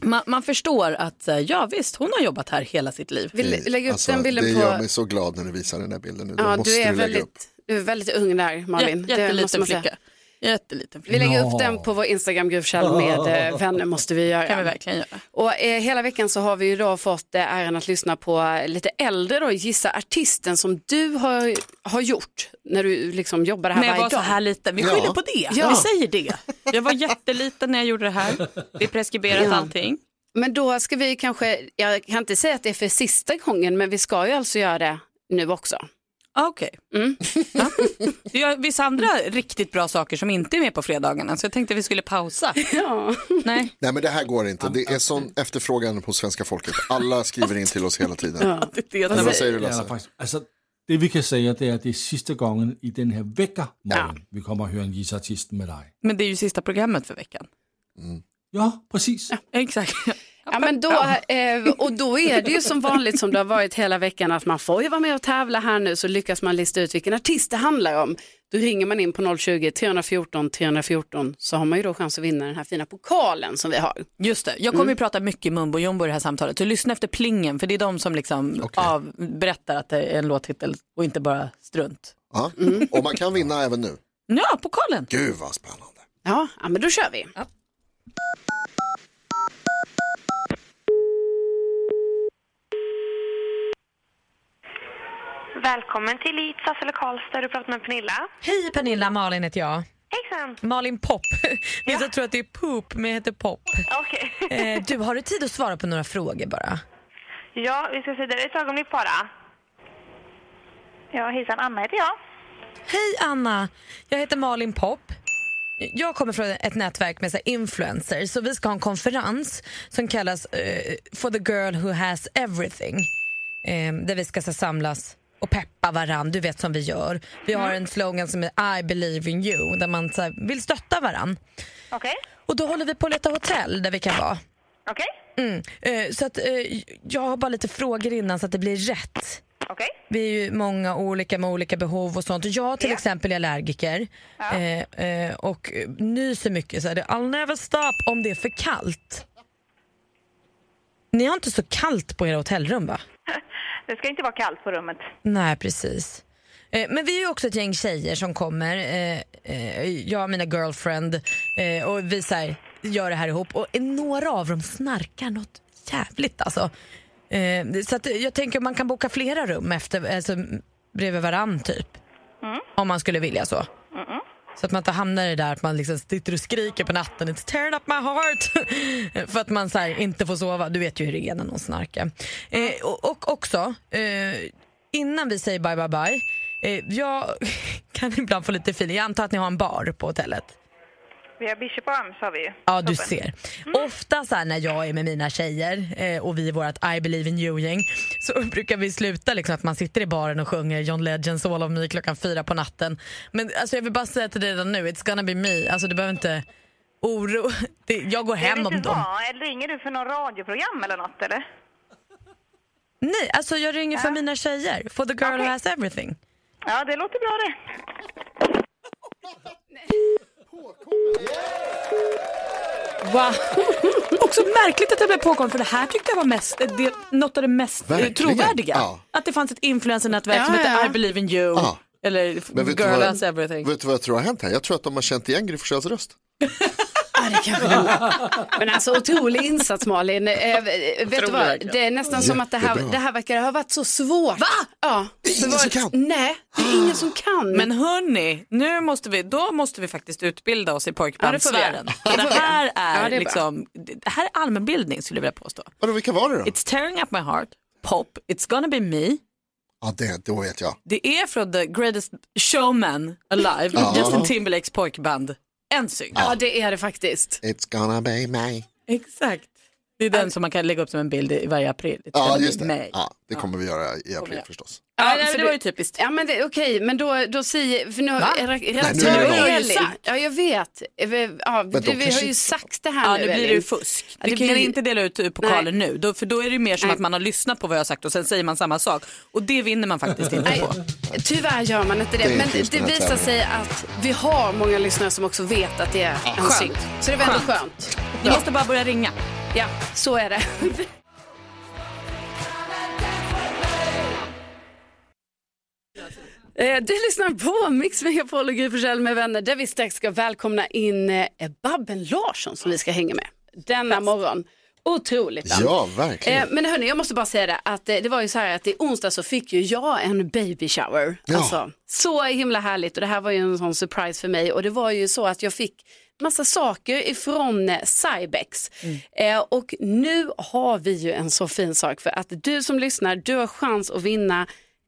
[SPEAKER 5] man, man förstår att eh, ja visst, hon har jobbat här hela sitt liv.
[SPEAKER 1] Vi lä- lägger upp
[SPEAKER 2] Alltså,
[SPEAKER 1] den
[SPEAKER 2] det
[SPEAKER 1] bilden
[SPEAKER 2] gör
[SPEAKER 1] på...
[SPEAKER 2] mig så glad när du visar den där bilden nu. Den
[SPEAKER 1] Ja,
[SPEAKER 2] måste
[SPEAKER 1] du
[SPEAKER 2] lägga
[SPEAKER 1] är
[SPEAKER 2] upp.
[SPEAKER 1] väldigt, du är väldigt ung där, Malin.
[SPEAKER 5] Jä-
[SPEAKER 1] Det måste
[SPEAKER 5] jätteliten
[SPEAKER 1] man säga.
[SPEAKER 5] flicka. Jätteliten flicka.
[SPEAKER 1] Vi lägger upp den på vår Instagram, Gry Forssell med eh, vänner måste vi göra.
[SPEAKER 5] Det kan vi verkligen göra.
[SPEAKER 1] Och eh, hela veckan så har vi ju då fått eh, äran att lyssna på eh, lite äldre då, gissa artisten som du har, har gjort när du liksom jobbar här
[SPEAKER 5] Men jag
[SPEAKER 1] varje
[SPEAKER 5] var så
[SPEAKER 1] dag.
[SPEAKER 5] här liten, vi
[SPEAKER 2] Ja.
[SPEAKER 5] skyller på det.
[SPEAKER 1] Ja.
[SPEAKER 5] Vi säger det. Jag var jätteliten när jag gjorde det här. Det är preskriberat
[SPEAKER 1] Ja.
[SPEAKER 5] allting.
[SPEAKER 1] Men då ska vi kanske, jag kan inte säga att det är för sista gången, men vi ska ju alltså göra det nu också.
[SPEAKER 11] Ah, Okej. Ja. Du gör vissa andra riktigt bra saker som inte är med på fredagarna så jag tänkte vi skulle pausa. Nej.
[SPEAKER 2] Nej men det här går inte. Det är sån efterfrågan hos svenska folket. Alla skriver in till oss hela tiden. Eller vad säger du
[SPEAKER 3] Ja,
[SPEAKER 2] Lasse?
[SPEAKER 3] faktisk. Altså, det vi kan säga det är att det är sista gången i den här veckan morgen, vi kommer att höra en gissartist med dig.
[SPEAKER 11] Men det är ju sista programmet för veckan.
[SPEAKER 3] Ja, precis.
[SPEAKER 11] Exakt.
[SPEAKER 1] Ja, men då, eh, och då är det ju som vanligt som det har varit hela veckan att man får ju vara med och tävla här nu så lyckas man lista ut vilken artist det handlar om. Då ringer man in på 020-314 314 så har man ju då chans att vinna den här fina pokalen som vi har.
[SPEAKER 11] Just det, jag kommer ju prata mycket mumbo jumbo i det här samtalet. Så lyssna efter plingen för det är de som liksom av, berättar att det är en låttitel och inte bara strunt.
[SPEAKER 2] Ja.
[SPEAKER 1] Mm.
[SPEAKER 2] Och man kan vinna även nu.
[SPEAKER 11] Ja, pokalen.
[SPEAKER 2] Gud vad spännande.
[SPEAKER 1] Ja, ja men då kör vi.
[SPEAKER 12] Välkommen till Eat Sassel och Karlstad. Du pratar med Pernilla.
[SPEAKER 5] Hej Pernilla, Malin heter jag.
[SPEAKER 12] Hejsan.
[SPEAKER 5] Malin Pop. Vissa tror att det är poop, men jag heter Pop. Eh, du, har du tid att svara på några frågor bara?
[SPEAKER 12] Ja, vi ska se där ett ögonblick bara. Ja, hejsan. Anna heter jag.
[SPEAKER 5] Hej Anna, jag heter Malin Pop. Jag kommer från ett nätverk med så här influencers, så vi ska ha en konferens som kallas eh, For the girl who has everything. Eh, där vi ska så här, samlas och peppa varann, du vet som vi gör. Vi har
[SPEAKER 12] Mm.
[SPEAKER 5] en slogan som är I believe in you, där man så här, vill stötta varann.
[SPEAKER 12] Okej.
[SPEAKER 5] Och då håller vi på att leta hotell där vi kan vara.
[SPEAKER 12] Okej.
[SPEAKER 5] Mm. Eh, så att, eh, jag har bara lite frågor innan så att det blir rätt.
[SPEAKER 12] Okej.
[SPEAKER 5] Vi är ju många olika med olika behov och sånt. Och Jag till exempel är allergiker eh, eh, och eh, nyser mycket så är det I'll never stop om det är för kallt. Ni har inte så kallt på era hotellrum va?
[SPEAKER 12] Det ska inte vara kallt på rummet.
[SPEAKER 5] Nej, precis. Eh, Men vi är ju också ett gäng tjejer som kommer, eh, eh, jag och mina girlfriend, eh, och vi så här, gör det här ihop. Och några av dem snarkar något jävligt alltså. Eh, Så att jag tänker man kan boka flera rum efter, alltså, bredvid varann typ. Om man skulle vilja så. Så att man inte hamnar i det där att man liksom sitter och skriker på natten It's tearing up my heart För att man så här, inte får sova Du vet ju hur det är när någon snarkar eh, och, och också eh, Innan vi säger bye bye bye eh, Jag kan ibland få lite feeling Jag antar att ni har en bar på hotellet
[SPEAKER 12] Vi har Bishop Arms har vi ju.
[SPEAKER 5] Ja, du ser. Ofta så här när jag är med mina tjejer eh, och vi är vårt I believe in you-gäng så brukar vi sluta liksom att man sitter i baren och sjunger John Legends All of me klockan fyra på natten. Men alltså, jag vill bara säga till dig redan nu, it's gonna be me. Alltså du behöver inte oro. Det, jag går hem
[SPEAKER 12] jag vet
[SPEAKER 5] om
[SPEAKER 12] inte
[SPEAKER 5] dem.
[SPEAKER 12] vad. Eller ringer du för något radioprogram eller något eller?
[SPEAKER 5] Nej, alltså jag ringer för mina tjejer. For the girl who has everything.
[SPEAKER 12] Ja, det låter bra det.
[SPEAKER 11] Wow. Också märkligt att jag blev påkommen för det här tyckte jag var mest, eh, det, något av det mest eh,
[SPEAKER 2] Verkligen.
[SPEAKER 11] trovärdiga.
[SPEAKER 2] Ja.
[SPEAKER 11] Att det fanns ett influencernätverk som
[SPEAKER 2] Ja,
[SPEAKER 11] hette
[SPEAKER 2] ja.
[SPEAKER 11] I believe in you.
[SPEAKER 2] Ja.
[SPEAKER 11] Eller
[SPEAKER 2] Men vet, du
[SPEAKER 11] girl
[SPEAKER 2] vad,
[SPEAKER 11] has everything.
[SPEAKER 2] vet du vad jag tror har hänt här? Jag tror att de har känt igen Gry Forssells röst.
[SPEAKER 1] Men alltså otrolig insats Malin. Eh, vet du vad?
[SPEAKER 2] verkligen.
[SPEAKER 1] Det är nästan som att det här,
[SPEAKER 2] Jättebra.
[SPEAKER 1] det här verkar ha varit så svårt. Va? Ja.
[SPEAKER 11] Det är ingen
[SPEAKER 1] Så
[SPEAKER 11] som
[SPEAKER 1] var-
[SPEAKER 11] kan.
[SPEAKER 1] Nej, det är ingen som kan.
[SPEAKER 2] Mm.
[SPEAKER 11] Men hörni, nu måste vi, då måste vi faktiskt utbilda oss i pojkbandssfären.
[SPEAKER 1] Ja, det får
[SPEAKER 11] För det,
[SPEAKER 1] vi göra. Det får vi
[SPEAKER 11] här
[SPEAKER 1] göra.
[SPEAKER 11] är
[SPEAKER 1] Ja, det är
[SPEAKER 11] liksom, det här är allmänbildning skulle jag vilja påstå.
[SPEAKER 2] Vadå, vilka var det då?
[SPEAKER 11] It's tearing up my heart, Pop, It's gonna be me.
[SPEAKER 2] Ja, det, då vet jag.
[SPEAKER 11] Det är från The Greatest Showman Alive,
[SPEAKER 2] Ja.
[SPEAKER 11] Justin Timberlakes pojkband NSYNC.
[SPEAKER 1] Ja, det är det faktiskt.
[SPEAKER 2] It's gonna be me.
[SPEAKER 11] Exakt. Det är den som man kan lägga upp som en bild i varje april. It's
[SPEAKER 2] Äh. Ja,
[SPEAKER 11] gonna be
[SPEAKER 2] just det.
[SPEAKER 11] me.
[SPEAKER 2] Ja, det kommer vi göra i april förstås.
[SPEAKER 11] Ja, nej, men
[SPEAKER 1] för
[SPEAKER 11] det var ju typiskt.
[SPEAKER 1] Ja, men det, okej, men då, då säger... För nu har
[SPEAKER 11] Va?
[SPEAKER 1] jag
[SPEAKER 11] Nej,
[SPEAKER 2] nu är
[SPEAKER 1] rätt
[SPEAKER 2] det någon.
[SPEAKER 1] Ja, jag vet. Eh, vi- Ja,
[SPEAKER 11] då
[SPEAKER 1] vi, vi har
[SPEAKER 11] kanske-
[SPEAKER 1] ju sagt det här
[SPEAKER 11] Ja,
[SPEAKER 1] nu,
[SPEAKER 11] nu blir det
[SPEAKER 1] Elin.
[SPEAKER 11] ju fusk.
[SPEAKER 1] Ja,
[SPEAKER 11] Du
[SPEAKER 1] det
[SPEAKER 11] kan
[SPEAKER 1] blir-
[SPEAKER 11] inte dela ut eh, pokaler nu, då, för då är det ju mer som att man har lyssnat på vad jag har sagt och sen säger man samma sak. Och det vinner man faktiskt inte
[SPEAKER 1] Nej,
[SPEAKER 11] på.
[SPEAKER 1] Tyvärr gör man inte det,
[SPEAKER 11] Det
[SPEAKER 1] men
[SPEAKER 11] finns
[SPEAKER 1] det
[SPEAKER 11] den här
[SPEAKER 1] visar sig att vi har många lyssnare som också vet att det är en synk. Så det var ändå skönt.
[SPEAKER 11] Ni måste bara börja ringa.
[SPEAKER 1] Ja, så är det. Eh, Du lyssnar på Mix Megapol och Gry Forssell med vänner där vi strax ska välkomna in eh, Babben Larsson som vi ska hänga med denna morgon. Otroligt. va?
[SPEAKER 2] Ja, verkligen.
[SPEAKER 1] Eh, Men hörni, jag måste bara säga det att eh, det var ju så här att i onsdag så fick ju jag en baby shower.
[SPEAKER 2] Ja.
[SPEAKER 1] Alltså, så himla härligt och det här var ju en sån surprise för mig och det var ju så att jag fick massa saker ifrån eh, Cybex. Eh, och nu har vi ju en så fin sak för att du som lyssnar, du har chans att vinna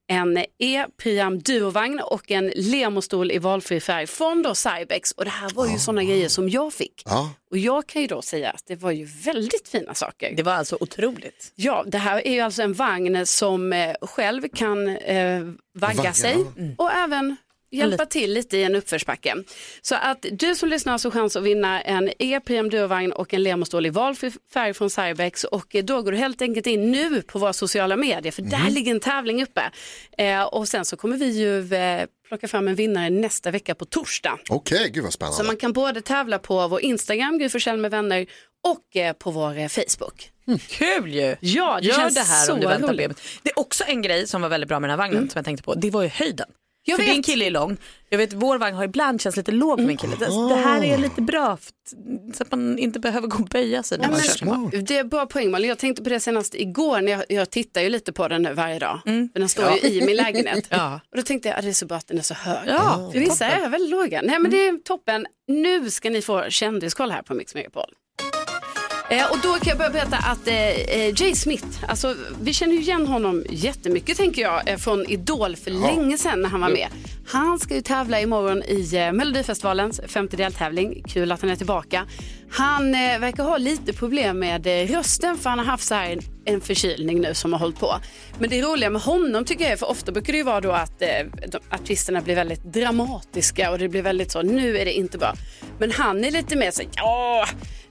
[SPEAKER 1] en E-Priam Duovagn och en Lemostol i valfri färg från då Cybex. Och det här var ju sådana grejer som jag fick.
[SPEAKER 2] Ja.
[SPEAKER 1] Och jag kan ju då säga att det var ju väldigt fina saker.
[SPEAKER 6] Det var alltså otroligt.
[SPEAKER 1] Ja, det här är ju alltså en vagn som eh, själv kan eh, vagga
[SPEAKER 6] Vagga,
[SPEAKER 1] sig
[SPEAKER 6] ja.
[SPEAKER 1] och även hjälpa till lite i en uppförsbacke. Så att du som lyssnar har så chans att vinna en E-Priam Duovagn och en Lemostål i valfri färg från Cybex och eh, då går du helt enkelt in nu på våra sociala medier för där
[SPEAKER 13] Mm.
[SPEAKER 1] ligger en tävling uppe. Eh, och sen så kommer vi ju eh, plocka fram en vinnare nästa vecka på torsdag.
[SPEAKER 2] Okej, gud vad spännande.
[SPEAKER 1] Så man kan både tävla på vår Instagram, Gry Forssell med vänner, och eh, på vår eh, Facebook.
[SPEAKER 5] Mm. Kul ju!
[SPEAKER 1] Ja, det
[SPEAKER 5] Gör
[SPEAKER 1] känns
[SPEAKER 5] det här
[SPEAKER 1] så
[SPEAKER 5] om du väntar
[SPEAKER 1] roligt. Mm.
[SPEAKER 5] bebis. Det är också en grej som var väldigt bra med den här vagnen som jag tänkte på. Det var ju höjden.
[SPEAKER 1] Jag
[SPEAKER 5] För
[SPEAKER 1] vet.
[SPEAKER 5] din kille är lång. Jag vet, vår vagn har ibland känts lite låg för min kille. Det, det
[SPEAKER 1] Mm.
[SPEAKER 5] här är lite bra för att- så att man inte behöver gå och böja sig när
[SPEAKER 1] Ja,
[SPEAKER 5] man
[SPEAKER 1] men-
[SPEAKER 5] kör sin vagn.
[SPEAKER 1] det är bra poäng Malin. Jag tänkte på det senast igår när jag, jag tittar ju lite på den nu varje dag. För den står
[SPEAKER 5] Mm. Ja.
[SPEAKER 1] ju i min lägenhet.
[SPEAKER 5] Ja.
[SPEAKER 1] Och då tänkte jag att det är så bra att den är så hög.
[SPEAKER 5] Ja, Mm.
[SPEAKER 1] För vissa är väldigt låga. Nej men det är toppen. Nu ska ni få kändiskoll här på Mix Megapol. Eh, och då kan jag börja berätta att eh, eh, Jay Smith, alltså, vi känner ju igen honom jättemycket tänker jag eh, från Idol för länge sedan när han var med. Han ska ju tävla imorgon i eh, Melodifestivalens femte deltävling. Kul att han är tillbaka. Han eh, verkar ha lite problem med eh, rösten för han har haft så här en, en förkylning nu som har hållit på. Men det roliga med honom tycker jag är, för ofta brukar det ju vara då att eh, de, artisterna blir väldigt dramatiska och det blir väldigt så, nu är det inte bra. Men han är lite mer så, ja,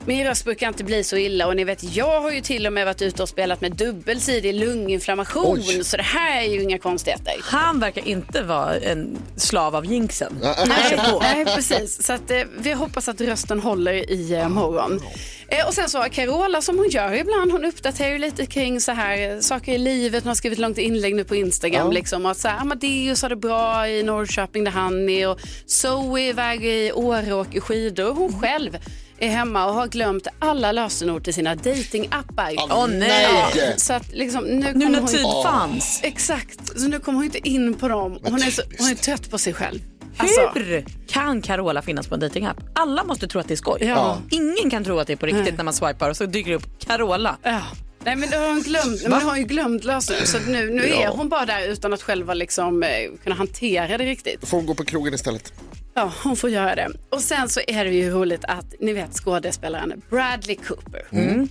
[SPEAKER 1] min röst brukar inte bli så illa och ni vet jag har ju till och med varit ute och spelat med dubbelsidig lunginflammation
[SPEAKER 5] Oj.
[SPEAKER 1] så det här är ju inga konstigheter.
[SPEAKER 5] Han verkar inte vara en slav av jinxen.
[SPEAKER 1] Nej, nej, precis. Så att, eh, vi hoppas att rösten håller i
[SPEAKER 5] Ah,
[SPEAKER 1] eh, morgon. Eh, och sen så har Carola som hon gör ibland, hon uppdaterar ju lite kring så här eh, saker i livet. Hon har skrivit långt inlägg nu på Instagram
[SPEAKER 5] Ja.
[SPEAKER 1] liksom. Och att så här, Amadeus har det bra i Norrköping där han är och Zoe är iväg i Åre och åker skidor.
[SPEAKER 5] Mm.
[SPEAKER 1] Hon själv är hemma och har glömt alla lösenord till sina datingappar.
[SPEAKER 5] Åh, Åh, nej.
[SPEAKER 1] Ja, så att liksom, nu,
[SPEAKER 5] Nu
[SPEAKER 1] kommer
[SPEAKER 5] när
[SPEAKER 1] hon-
[SPEAKER 5] tid
[SPEAKER 1] Ja.
[SPEAKER 5] fanns.
[SPEAKER 1] Exakt, så nu kommer hon inte in på dem. Hon är, så, hon är trött på sig själv. Alltså-
[SPEAKER 5] Hur kan Carola finnas på en datingapp? Alla måste tro att det är skoj.
[SPEAKER 1] Ja.
[SPEAKER 5] Ingen kan tro att det är på riktigt när man swipar och så dyker det upp Carola.
[SPEAKER 1] Nej men det har hon glömt, Nej, men det har hon ju glömt lösenord. Så att nu, nu är
[SPEAKER 2] Ja.
[SPEAKER 1] hon bara där utan att själv liksom, eh, kunna hantera det riktigt.
[SPEAKER 2] Får hon gå på krogen istället?
[SPEAKER 1] Ja, hon får göra det. Och sen så är det ju roligt att ni vet skådespelaren Bradley Cooper. Mm.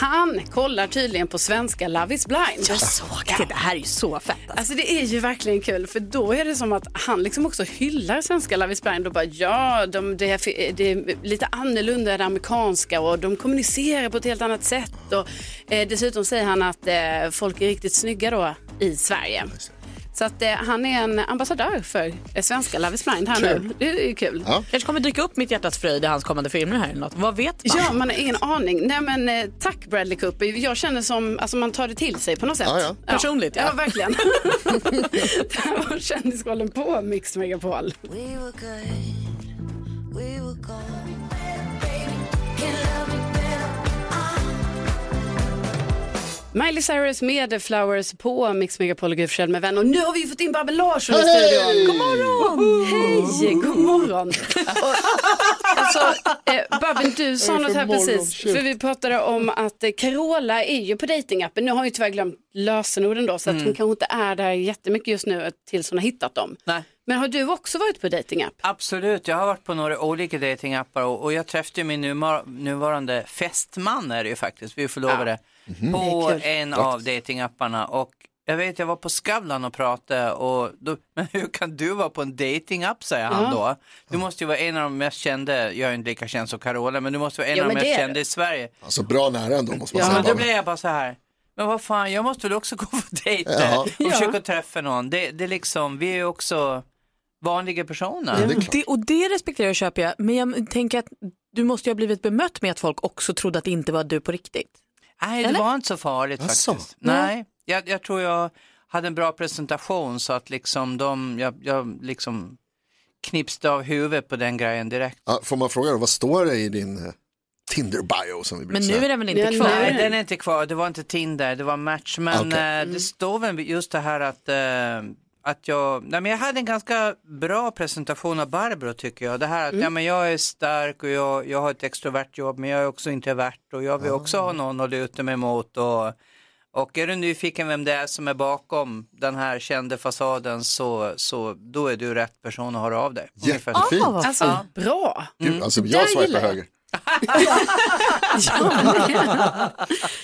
[SPEAKER 1] Han kollar tydligen på svenska Love is blind. Jag såg det, det
[SPEAKER 5] här är ju så fett. Alltså.
[SPEAKER 1] det är ju verkligen kul för då är det som att han liksom också hyllar svenska Love is blind och bara ja, de, det, är, det är lite annorlunda än det amerikanska och de kommunicerar på ett helt annat sätt. Och, eh, dessutom säger han att eh, folk är riktigt snygga då i Sverige. Så att eh, han är en ambassadör för eh, svenska Love is blind här nu.
[SPEAKER 5] Kul.
[SPEAKER 1] Det är ju kul.
[SPEAKER 5] Kanske kommer dyka upp Mitt hjärtas fröjd i hans kommande filmer här eller något. Vad vet man?
[SPEAKER 1] Ja, man har ingen aning. Nej, men, eh, tack Bradley Cooper. Jag känner som, alltså man tar det till sig på något sätt.
[SPEAKER 5] Ja, ja. Personligt,
[SPEAKER 1] Ja,
[SPEAKER 5] ja.
[SPEAKER 1] verkligen. det här var Kändiskollen på Mix Megapol. Miley Cyrus med Flowers på Mix Megapol och Gry Forssell med vänner. Och nu har vi fått in Babbel Larsson i
[SPEAKER 9] Hej!
[SPEAKER 1] studion. God morgon! Hej, god morgon. Alltså, eh, Babben, du sa
[SPEAKER 9] Vad är det
[SPEAKER 1] något
[SPEAKER 9] för
[SPEAKER 1] här precis.
[SPEAKER 9] morgonskäft?
[SPEAKER 1] För vi pratade om att eh, Carola är ju på datingappen. Nu har hon ju tyvärr glömt lösenorden då, så att
[SPEAKER 5] Mm.
[SPEAKER 1] hon kanske inte är där jättemycket just nu eh, tills hon har hittat dem.
[SPEAKER 14] Nej.
[SPEAKER 1] Men har du också varit på datingapp?
[SPEAKER 14] Absolut, jag har varit på några olika datingappar och, och jag träffade ju min numa- nuvarande fästman är det ju faktiskt, vi är förlovade,
[SPEAKER 15] Mhm.
[SPEAKER 14] på
[SPEAKER 15] Det är kul.
[SPEAKER 14] en
[SPEAKER 15] Grattis.
[SPEAKER 14] av datingapparna och jag vet, jag var på Skavlan och pratade och då, men hur kan du vara på en datingapp säger han
[SPEAKER 15] Ja.
[SPEAKER 14] då. Du måste ju vara en av de mest kända, jag är inte lika känd som Carola, men du måste vara en
[SPEAKER 2] Jo,
[SPEAKER 14] av de
[SPEAKER 2] men det
[SPEAKER 14] mest
[SPEAKER 2] är
[SPEAKER 14] kända i Sverige.
[SPEAKER 2] Alltså bra nära ändå måste man
[SPEAKER 14] Ja,
[SPEAKER 2] säga.
[SPEAKER 14] men då
[SPEAKER 2] Babben.
[SPEAKER 14] blev jag bara så här. Men vad fan, jag måste väl också gå på dejter
[SPEAKER 2] Ja.
[SPEAKER 14] och
[SPEAKER 2] Ja.
[SPEAKER 14] försöka träffa någon. Det, det är liksom, vi är ju också vanliga personer.
[SPEAKER 5] Mm. det, och det respekterar jag och köper jag. Men jag tänker att du måste ju ha blivit bemött med att folk också trodde att det inte var du på riktigt.
[SPEAKER 14] Nej, det
[SPEAKER 5] Eller?
[SPEAKER 14] var inte så farligt faktiskt. Nej, jag, jag tror jag hade en bra presentation så att liksom de, jag, jag liksom knipsade av huvudet på den grejen direkt.
[SPEAKER 2] Ja, får man fråga då, vad står det i din eh, Tinder-bio som vi brukar säga?
[SPEAKER 14] Nej, den är inte kvar. Det var inte Tinder, det var Match. Men
[SPEAKER 2] Okej.
[SPEAKER 14] eh, det står väl just det här att, eh, att jag, nej, men jag hade en ganska bra presentation av Barbro tycker jag. Det här att ja,
[SPEAKER 2] Mm.
[SPEAKER 14] men jag är stark och jag,
[SPEAKER 2] Ah.
[SPEAKER 14] jag har ett extrovert jobb men jag är också introvert och jag vill också ha någon att luta mig mot. Och, Och är du nyfiken vem det är som är bakom den här kända fasaden så, så då är du rätt person att höra av dig. Ungefär så.
[SPEAKER 2] Jättefint. Ah, vad
[SPEAKER 1] Alltså,
[SPEAKER 2] fint.
[SPEAKER 1] bra. Mm.
[SPEAKER 2] Gud, alltså,
[SPEAKER 1] Där
[SPEAKER 2] jag swipar
[SPEAKER 1] gillar jag.
[SPEAKER 2] höger.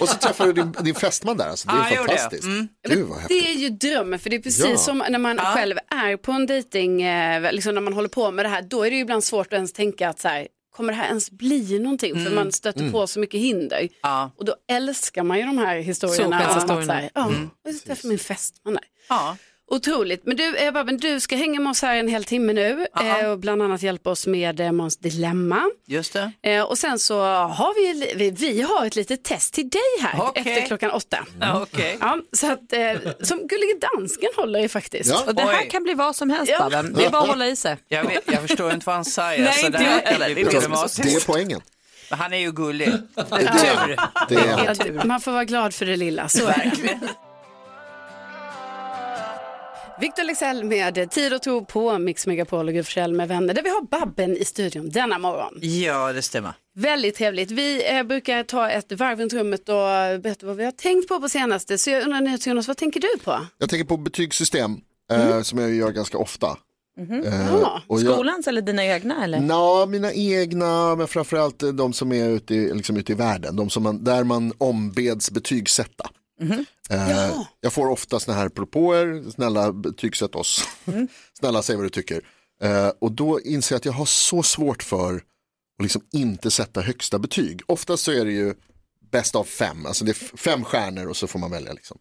[SPEAKER 2] Och så träffar du din, din fästman där, alltså, det
[SPEAKER 1] Ja,
[SPEAKER 2] är
[SPEAKER 1] jag gjorde det.
[SPEAKER 2] fantastiskt.
[SPEAKER 1] Mm.
[SPEAKER 2] Gud vad häftigt.
[SPEAKER 1] Det är ju drömmen, för det är precis
[SPEAKER 2] Ja.
[SPEAKER 1] som när man
[SPEAKER 2] Ja.
[SPEAKER 1] själv är på en dejting, eh, liksom när man håller på med det här, då är det ju ibland svårt att ens tänka att så här, kommer det här ens bli någonting? För
[SPEAKER 14] Mm.
[SPEAKER 1] man stöter
[SPEAKER 14] Mm.
[SPEAKER 1] på så mycket hinder.
[SPEAKER 14] Ja.
[SPEAKER 1] Och då älskar man ju de här historierna. om att
[SPEAKER 14] Solskenshistorierna.
[SPEAKER 1] så här, Ja,
[SPEAKER 14] Mm.
[SPEAKER 1] jag träffade min fästman där. Otroligt. Men du, eh, Babben, du ska hänga med oss här en hel timme nu eh, och bland annat hjälpa oss med eh, Måns Dilemma.
[SPEAKER 14] Just
[SPEAKER 2] Mm.
[SPEAKER 14] det.
[SPEAKER 1] Eh, och sen så har vi, li- vi, vi har ett litet test till dig här efter klockan åtta.
[SPEAKER 14] Ja, okej.
[SPEAKER 1] Ja, så att, eh, som gullige dansken håller i faktiskt.
[SPEAKER 14] Ja. Och det här Oj.
[SPEAKER 1] kan bli vad som helst
[SPEAKER 14] Ja. Babben. Det är bara att hålla
[SPEAKER 1] i sig.
[SPEAKER 14] Jag, vet, jag förstår inte vad han säger.
[SPEAKER 1] Nej,
[SPEAKER 14] så
[SPEAKER 1] inte
[SPEAKER 14] det här
[SPEAKER 1] jag heller.
[SPEAKER 14] är
[SPEAKER 1] Det är det som är så-
[SPEAKER 14] problematiskt.
[SPEAKER 2] Det är poängen.
[SPEAKER 14] Men han är ju gullig. Det
[SPEAKER 2] är
[SPEAKER 14] tur.
[SPEAKER 2] Det är-
[SPEAKER 1] Man får vara glad för det lilla, så är det. Victor Lexell med Tid och tro på Mix Megapol och Gud Forssell med vänner där vi har Babben i studion denna morgon.
[SPEAKER 14] Ja, det stämmer.
[SPEAKER 1] Väldigt trevligt. Vi eh, brukar ta ett varv runt rummet och berätta vad vi har tänkt på på senaste. Så jag undrar nu Jonas, vad tänker du på?
[SPEAKER 2] Jag tänker på betygssystem eh, som jag gör ganska ofta. Eh, och jag-
[SPEAKER 5] Mhm. Skolans eller dina egna eller?
[SPEAKER 2] Nå, mina egna, men framförallt eh, de som är ute i, liksom ute i världen, de som man, där man ombeds betygsätta.
[SPEAKER 5] Mhm.
[SPEAKER 2] Eh, Jag får ofta såna här propåer, snälla betygsätt oss,
[SPEAKER 5] Mm.
[SPEAKER 2] snälla säg vad du tycker. Eh, och då inser jag att jag har så svårt för att liksom inte sätta högsta betyg. Oftast så är det ju bäst av fem, alltså det är f- fem stjärnor och så får man välja. Liksom.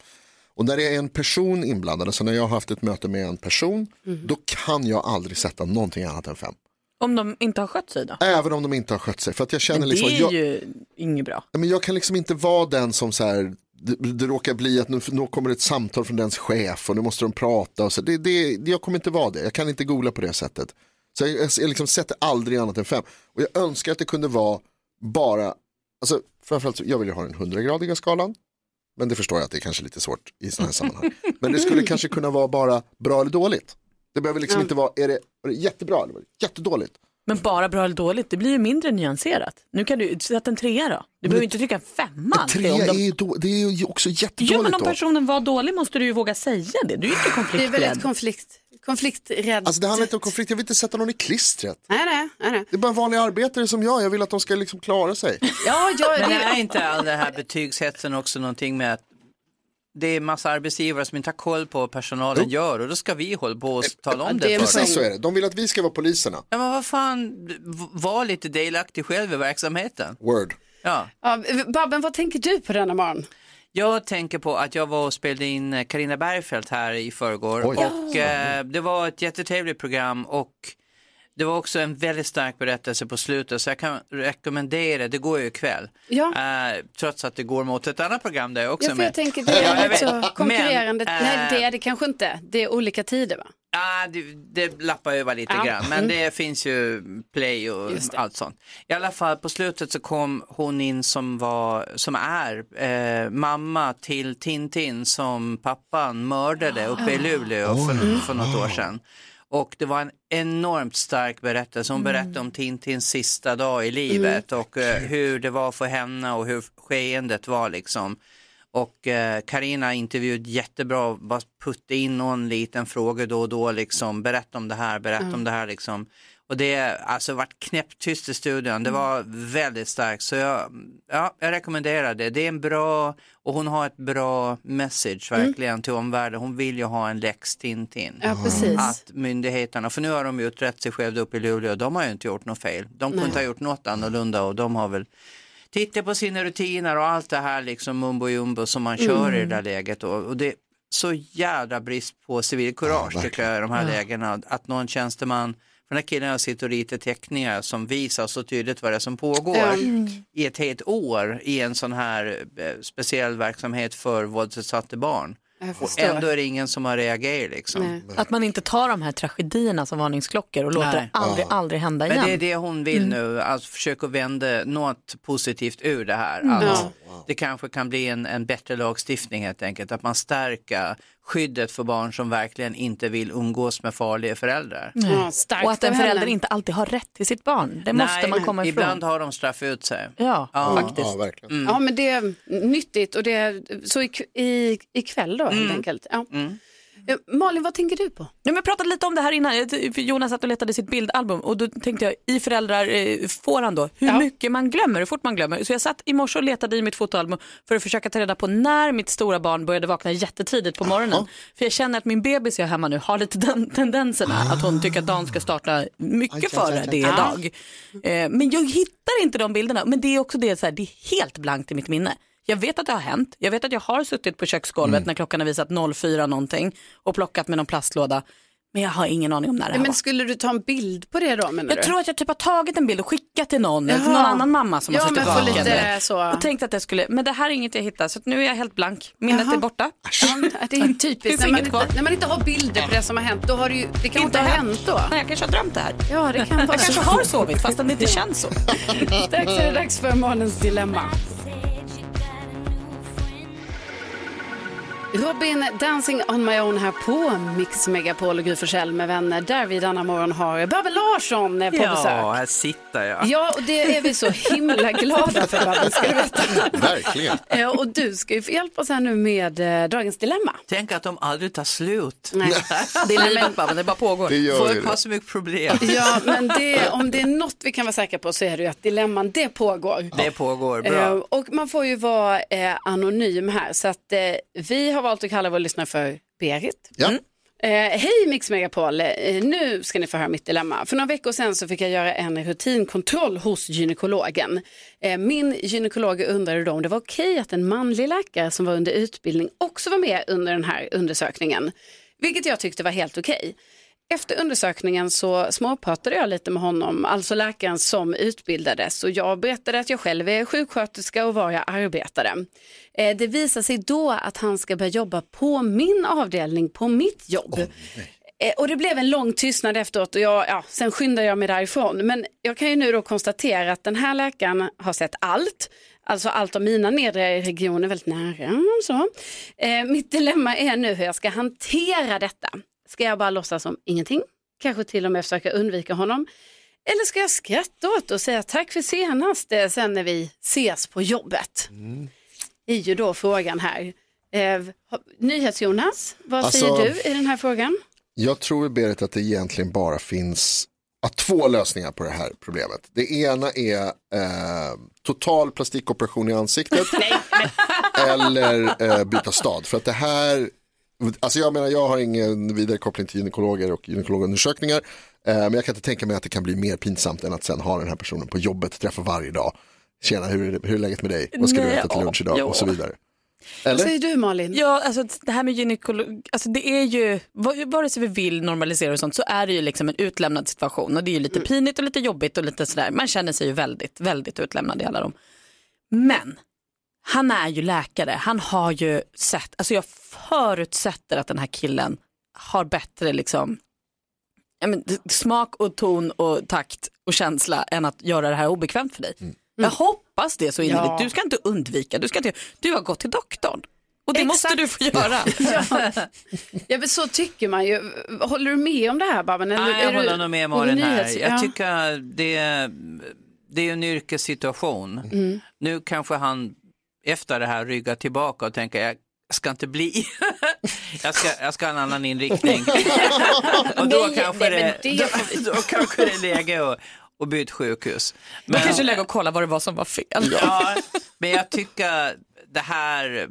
[SPEAKER 2] Och när det är en person inblandad, alltså när jag har haft ett möte med en
[SPEAKER 5] Mm.
[SPEAKER 2] person, då kan jag aldrig sätta någonting annat än fem.
[SPEAKER 5] Mhm. Om de inte har skött sig då?
[SPEAKER 2] Även om de inte har skött sig. För att jag känner
[SPEAKER 5] Men
[SPEAKER 2] liksom,
[SPEAKER 5] det är
[SPEAKER 2] jag,
[SPEAKER 5] ju inget bra.
[SPEAKER 2] Ja, men jag kan liksom inte vara den som så här, det, det råkar bli att nu, nu kommer det ett samtal från dens chef och nu måste de prata. Och så. Det, det, jag kommer inte vara det, jag kan inte gola på det sättet. Så jag, jag, jag liksom sätter aldrig annat än fem. Och jag önskar att det kunde vara bara, alltså, framförallt så- jag vill ju ha den 100-gradiga skalan. Men det förstår jag att det är kanske lite svårt i sådana här sammanhang. Men det skulle kanske kunna vara bara bra eller dåligt. Det behöver liksom
[SPEAKER 5] Ja.
[SPEAKER 2] inte vara, är det, är det jättebra eller var det jättedåligt?
[SPEAKER 5] Men bara bra eller dåligt, det blir ju mindre nyanserat. Nu kan du sätta en trea då. Du behöver ju inte trycka en femma. alltid
[SPEAKER 2] Trea
[SPEAKER 5] om de-
[SPEAKER 2] är ju då, det är ju också jättedåligt
[SPEAKER 5] Jo men om
[SPEAKER 2] då.
[SPEAKER 5] personen var dålig måste du ju våga säga det. Du är ju inte
[SPEAKER 1] Det är
[SPEAKER 5] konflikträdd.
[SPEAKER 1] väldigt konflikt, konflikträdd.
[SPEAKER 2] Alltså det handlar inte om konflikt, jag vill inte sätta någon i klistret.
[SPEAKER 1] Nej, nej, nej, nej.
[SPEAKER 2] Det är bara en vanlig arbetare som jag, jag vill att de ska liksom klara sig.
[SPEAKER 1] Ja, jag,
[SPEAKER 14] Men det är inte all den här betygshetsen också någonting med att det är massa arbetsgivare som inte har koll på vad personalen gör och då ska vi hålla på och tala om det, för
[SPEAKER 2] Precis
[SPEAKER 14] dem.
[SPEAKER 2] så är det, de vill att vi ska vara poliserna.
[SPEAKER 14] Ja men vad fan, v- var lite delaktig själv i verksamheten.
[SPEAKER 2] Word.
[SPEAKER 14] Ja.
[SPEAKER 1] Ja, Babben, vad tänker du på denna morgon?
[SPEAKER 14] Jag tänker på att jag var och spelade in eh, Carina Bergfeldt här i förrgår
[SPEAKER 1] Oj.
[SPEAKER 14] och
[SPEAKER 1] Ja.
[SPEAKER 14] eh, det var ett jättetrevligt program och det var också en väldigt stark berättelse på slutet så jag kan rekommendera, det går ju ikväll,
[SPEAKER 1] Ja.
[SPEAKER 14] eh, trots att det går mot ett annat program där jag också
[SPEAKER 1] Ja,
[SPEAKER 14] är
[SPEAKER 1] för
[SPEAKER 14] med.
[SPEAKER 1] jag tänker det är
[SPEAKER 14] jag vet.
[SPEAKER 1] också konkurrerande.
[SPEAKER 14] Men,
[SPEAKER 1] nej,
[SPEAKER 14] eh,
[SPEAKER 1] det är det kanske inte. Det är olika tider va?
[SPEAKER 14] Ja, det, det lappar över lite
[SPEAKER 1] Ja. Mm.
[SPEAKER 14] grann, men det finns ju play och
[SPEAKER 1] Just det.
[SPEAKER 14] allt sånt. I alla fall på slutet så kom hon in som, var, som är eh, mamma till Tintin som pappan mördade uppe
[SPEAKER 1] Ah.
[SPEAKER 14] i Luleå för, för något år sedan. Och det var en enormt stark berättelse.
[SPEAKER 1] Mm.
[SPEAKER 14] Hon berättade om Tintins sista dag i livet och eh, hur det var för henne och hur skeendet var liksom. Och eh, Karina intervjuade jättebra, bara putta in någon liten fråga då och då liksom, berätta om det här, berätta
[SPEAKER 13] Mm.
[SPEAKER 14] om det här liksom. Och det alltså vart knäpptyst i studion, det var väldigt starkt. Så jag, ja, jag rekommenderar det. Det är en bra, och hon har ett bra message verkligen till omvärlden. Hon vill ju ha en lex Tintin.
[SPEAKER 1] Ja, precis.
[SPEAKER 14] Mm. Att myndigheterna, för nu har de ju utrett sig själva uppe i Luleå, de har ju inte gjort något fel. De kunde
[SPEAKER 1] Nej.
[SPEAKER 14] inte ha gjort något annorlunda och de har väl titta på sina rutiner och allt det här liksom mumbo jumbo som man
[SPEAKER 1] Mm.
[SPEAKER 14] kör i det där läget. Och, och det är så jädra brist på civilkurage tycker jag i de här
[SPEAKER 1] Ja.
[SPEAKER 14] lägena. Att någon tjänsteman, för den här killen jag sitter och ritar teckningar som visar så tydligt vad det är som pågår
[SPEAKER 1] Ja. Mm.
[SPEAKER 14] i ett helt år i en sån här eh, speciell verksamhet för våldsutsatta barn.
[SPEAKER 1] Jag
[SPEAKER 14] Och
[SPEAKER 5] förstår.
[SPEAKER 14] ändå är det ingen som har reagerat liksom.
[SPEAKER 5] Att man inte tar de här tragedierna som varningsklockor och låter
[SPEAKER 14] Nej.
[SPEAKER 5] det aldrig, aldrig hända
[SPEAKER 14] Men
[SPEAKER 5] igen.
[SPEAKER 14] det är det hon vill nu, alltså försöka vända något positivt ur det här.
[SPEAKER 5] Mm.
[SPEAKER 14] Att
[SPEAKER 5] Ja.
[SPEAKER 14] Det kanske kan bli en, en bättre lagstiftning helt enkelt, att man stärker skyddet för barn som verkligen inte vill umgås med farliga föräldrar.
[SPEAKER 1] Ja, starkt
[SPEAKER 5] och att en
[SPEAKER 1] av henne.
[SPEAKER 5] förälder inte alltid har rätt till sitt barn. Det måste
[SPEAKER 14] Nej,
[SPEAKER 5] man komma ifrån.
[SPEAKER 14] Ibland har de straff ut sig.
[SPEAKER 5] Ja,
[SPEAKER 1] faktiskt.
[SPEAKER 2] Ja, verkligen.
[SPEAKER 14] Mm.
[SPEAKER 1] Ja, men det är nyttigt och det är så i, i, ikväll då helt
[SPEAKER 14] Mm.
[SPEAKER 1] enkelt. Ja.
[SPEAKER 5] Mm.
[SPEAKER 1] Eh, Malin, vad tänker du på?
[SPEAKER 5] Ja, men jag pratade lite om det här innan. Jag- för Jonas satt och letade sitt bildalbum och då tänkte jag i föräldrar eh, får han då hur mycket man glömmer, hur fort man glömmer. Så jag satt i morse och letade i mitt fotoalbum för att försöka ta reda på när mitt stora barn började vakna jättetidigt på morgonen. För jag känner att min bebis jag har hemma nu har lite den tendenserna att hon tycker att dagen ska starta mycket
[SPEAKER 1] Aj, aj, aj,
[SPEAKER 5] före
[SPEAKER 1] aj.
[SPEAKER 5] det
[SPEAKER 1] Ah.
[SPEAKER 5] är dag. Eh, Men jag hittar inte de bilderna. Men det är också det, så här, det är helt blankt i mitt minne. Jag vet att det har hänt. Jag vet att jag har suttit på köksgolvet när klockan har visat 04 någonting och plockat med någon plastlåda. Men jag har ingen aning om när det här
[SPEAKER 1] Nej, men
[SPEAKER 5] var.
[SPEAKER 1] skulle du ta en bild på det då menar
[SPEAKER 5] Jag
[SPEAKER 1] du?
[SPEAKER 5] tror att jag typ har tagit en bild och skickat till någon, eller till
[SPEAKER 1] Jaha.
[SPEAKER 5] någon annan mamma som
[SPEAKER 1] Ja,
[SPEAKER 5] har suttit
[SPEAKER 1] men få
[SPEAKER 5] vaken.
[SPEAKER 1] lite så.
[SPEAKER 5] Och tänkte att jag skulle, men det här är inget jag hittar så att nu är jag helt blank. Minnet är borta.
[SPEAKER 1] Ja, det är ju typiskt.
[SPEAKER 5] Finns
[SPEAKER 1] När man,
[SPEAKER 5] inget
[SPEAKER 1] inte,
[SPEAKER 5] kvar.
[SPEAKER 1] när man inte har bilder på det som har hänt, då har det ju, det kan inte ha hänt då.
[SPEAKER 5] Nej, jag kanske har drömt det här.
[SPEAKER 1] Ja, det kan vara
[SPEAKER 5] jag
[SPEAKER 1] så.
[SPEAKER 5] kanske har sovit fastän det inte känns så.
[SPEAKER 1] Strax är det dags för morgonens dilemma. Robin Dancing on my own här på Mix Megapol och Gry Forssell med vänner där vi denna morgon har Babbel Larsson eh, på
[SPEAKER 14] Ja,
[SPEAKER 1] besök.
[SPEAKER 14] här sitter jag.
[SPEAKER 1] Ja, och det är vi så himla glada för Babbel, ska du veta.
[SPEAKER 2] Verkligen.
[SPEAKER 1] Eh, Och du ska ju få hjälpa oss här nu med eh, dagens dilemma.
[SPEAKER 14] Tänk att de aldrig tar slut.
[SPEAKER 1] Nej.
[SPEAKER 14] Det är
[SPEAKER 1] Nej,
[SPEAKER 14] livet
[SPEAKER 1] men-
[SPEAKER 14] bara, men det bara pågår.
[SPEAKER 2] Det gör ju
[SPEAKER 14] Folk
[SPEAKER 2] det.
[SPEAKER 14] har så mycket problem.
[SPEAKER 1] Ja, men det, om det är något vi kan vara säkra på så är det ju att dilemman, det pågår.
[SPEAKER 14] Det pågår, bra.
[SPEAKER 1] Eh, och man får ju vara eh, anonym här, så att eh, vi har valt att kalla vår lyssnare för Berit.
[SPEAKER 2] Ja.
[SPEAKER 1] Eh, Hej Mix Megapol, eh, nu ska ni få höra mitt dilemma. För några veckor sedan så fick jag göra en rutinkontroll hos gynekologen. Eh, min gynekolog undrade då om det var okej att en manlig läkare som var under utbildning också var med under den här undersökningen. Vilket jag tyckte var helt okej. Efter undersökningen så småpratade jag lite med honom, alltså läkaren som utbildades och jag berättade att jag själv är sjuksköterska och var jag arbetade. Eh, Det visar sig då att han ska börja jobba på min avdelning, på mitt jobb. Eh, Och det blev en lång tystnad efteråt och jag, ja, sen skyndade jag mig därifrån. Men jag kan ju nu då konstatera att den här läkaren har sett allt. Alltså allt om mina nedre regioner väldigt nära. Så. Eh, mitt dilemma är nu hur jag ska hantera detta. Ska jag bara låtsas som ingenting? Kanske till och med försöka undvika honom? Eller ska jag skratta åt och säga tack för senast eh, sen när vi ses på jobbet? är ju då frågan här. Eh, ha- NyhetsJonas, vad
[SPEAKER 2] Alltså-
[SPEAKER 1] säger du i den här frågan?
[SPEAKER 2] Jag tror Berit att det egentligen bara finns ja, två lösningar på det här problemet. Det ena är eh, total plastikoperation i ansiktet eller eh, byta stad. För att det här, alltså jag menar jag har ingen vidare koppling till gynekologer och gynekologundersökningar. Eh, men jag kan inte tänka mig att det kan bli mer pinsamt än att sen ha den här personen på jobbet, träffa varje dag. Tjena, hur är, det, hur är läget med dig? Vad ska du
[SPEAKER 5] Nej,
[SPEAKER 2] äta till lunch idag?
[SPEAKER 5] ja.
[SPEAKER 2] Och så vidare.
[SPEAKER 1] Vad
[SPEAKER 2] Eller?
[SPEAKER 1] säger du Malin?
[SPEAKER 5] Ja, alltså det här med gynekolog, alltså det är ju, vad- vare sig vi vill normalisera och sånt så är det ju liksom en utlämnad situation och det är ju lite
[SPEAKER 1] Mm.
[SPEAKER 5] pinigt och lite jobbigt och lite sådär, man känner sig ju väldigt, väldigt utlämnad i alla dem. Men han är ju läkare, han har ju sett, alltså jag förutsätter att den här killen har bättre liksom, ja, men, smak och ton och takt och känsla än att göra det här obekvämt för dig. Jag hoppas det så innerligt.
[SPEAKER 1] Ja.
[SPEAKER 5] Du ska inte undvika, du, ska inte, du har gått till doktorn. Och det måste
[SPEAKER 1] Exakt.
[SPEAKER 5] du få göra.
[SPEAKER 1] Ja, men så tycker man ju. Håller du med om det här Babben? Eller
[SPEAKER 14] Nej, jag
[SPEAKER 1] är du-
[SPEAKER 14] håller nog med
[SPEAKER 1] är
[SPEAKER 14] Malin
[SPEAKER 1] du
[SPEAKER 14] här.
[SPEAKER 1] nyhets-
[SPEAKER 14] Jag
[SPEAKER 1] ja.
[SPEAKER 14] tycker det är, det är en yrkessituation.
[SPEAKER 1] Mm.
[SPEAKER 14] Nu kanske han efter det här ryggar tillbaka och tänker jag ska inte bli, jag, ska, jag ska ha en annan inriktning. och då
[SPEAKER 5] Nej,
[SPEAKER 14] kanske,
[SPEAKER 5] nej, men
[SPEAKER 14] det,
[SPEAKER 5] det-
[SPEAKER 14] Då, då kanske det är läge att, att byta sjukhus.
[SPEAKER 5] Man kanske lägger och kollar vad det var som var fel.
[SPEAKER 14] Ja, men jag tycker det här,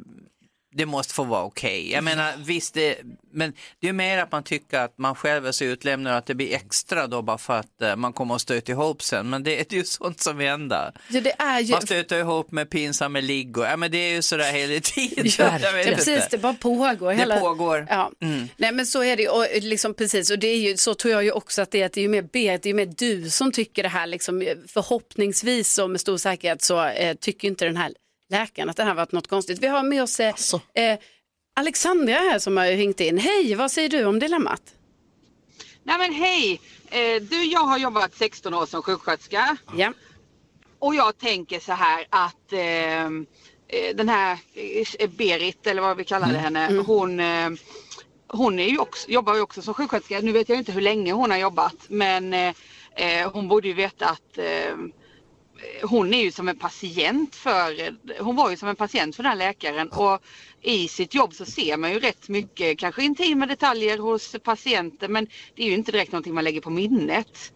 [SPEAKER 14] det måste få vara okej. Jag menar visst, det, men det är mer att man tycker att man själv är så utlämnad och att det blir extra då bara för att eh, man kommer att stöta ihop sen. Men det är ju sånt som händer.
[SPEAKER 1] Ja, det är ju...
[SPEAKER 14] Man stöter ihop med pinsamma ligg och, ja men det är ju sådär hela tiden.
[SPEAKER 1] Ja,
[SPEAKER 14] Jag vet
[SPEAKER 1] det, precis,
[SPEAKER 14] inte.
[SPEAKER 1] det bara pågår.
[SPEAKER 14] Det pågår.
[SPEAKER 1] Ja.
[SPEAKER 14] Mm.
[SPEAKER 1] Nej men så är det ju. och liksom, precis och det är ju, så tror jag ju också att det är, att det är ju mer Berit, det är ju mer du som tycker det här liksom, förhoppningsvis och med stor säkerhet så eh, tycker inte den här läkaren att det här varit något konstigt. Vi har med oss eh,
[SPEAKER 14] Alltså.
[SPEAKER 1] eh, Alexandra här som har ringt in. Hej, vad säger du om dilemmat?
[SPEAKER 13] Nej men hej! Eh, du, jag har jobbat 16 år som sjuksköterska.
[SPEAKER 1] Ja.
[SPEAKER 13] Och jag tänker så här att ehm, eh, den här eh, Berit eller vad vi kallade
[SPEAKER 15] Mm.
[SPEAKER 13] henne,
[SPEAKER 15] Mm.
[SPEAKER 13] hon eh, hon är ju också, jobbar ju också som sjuksköterska. Nu vet jag inte hur länge hon har jobbat men eh, eh, hon borde ju veta att eh, hon är ju som en patient för, hon var ju som en patient för den här läkaren och i sitt jobb så ser man ju rätt mycket, kanske intima detaljer hos patienter men det är ju inte direkt någonting man lägger på minnet.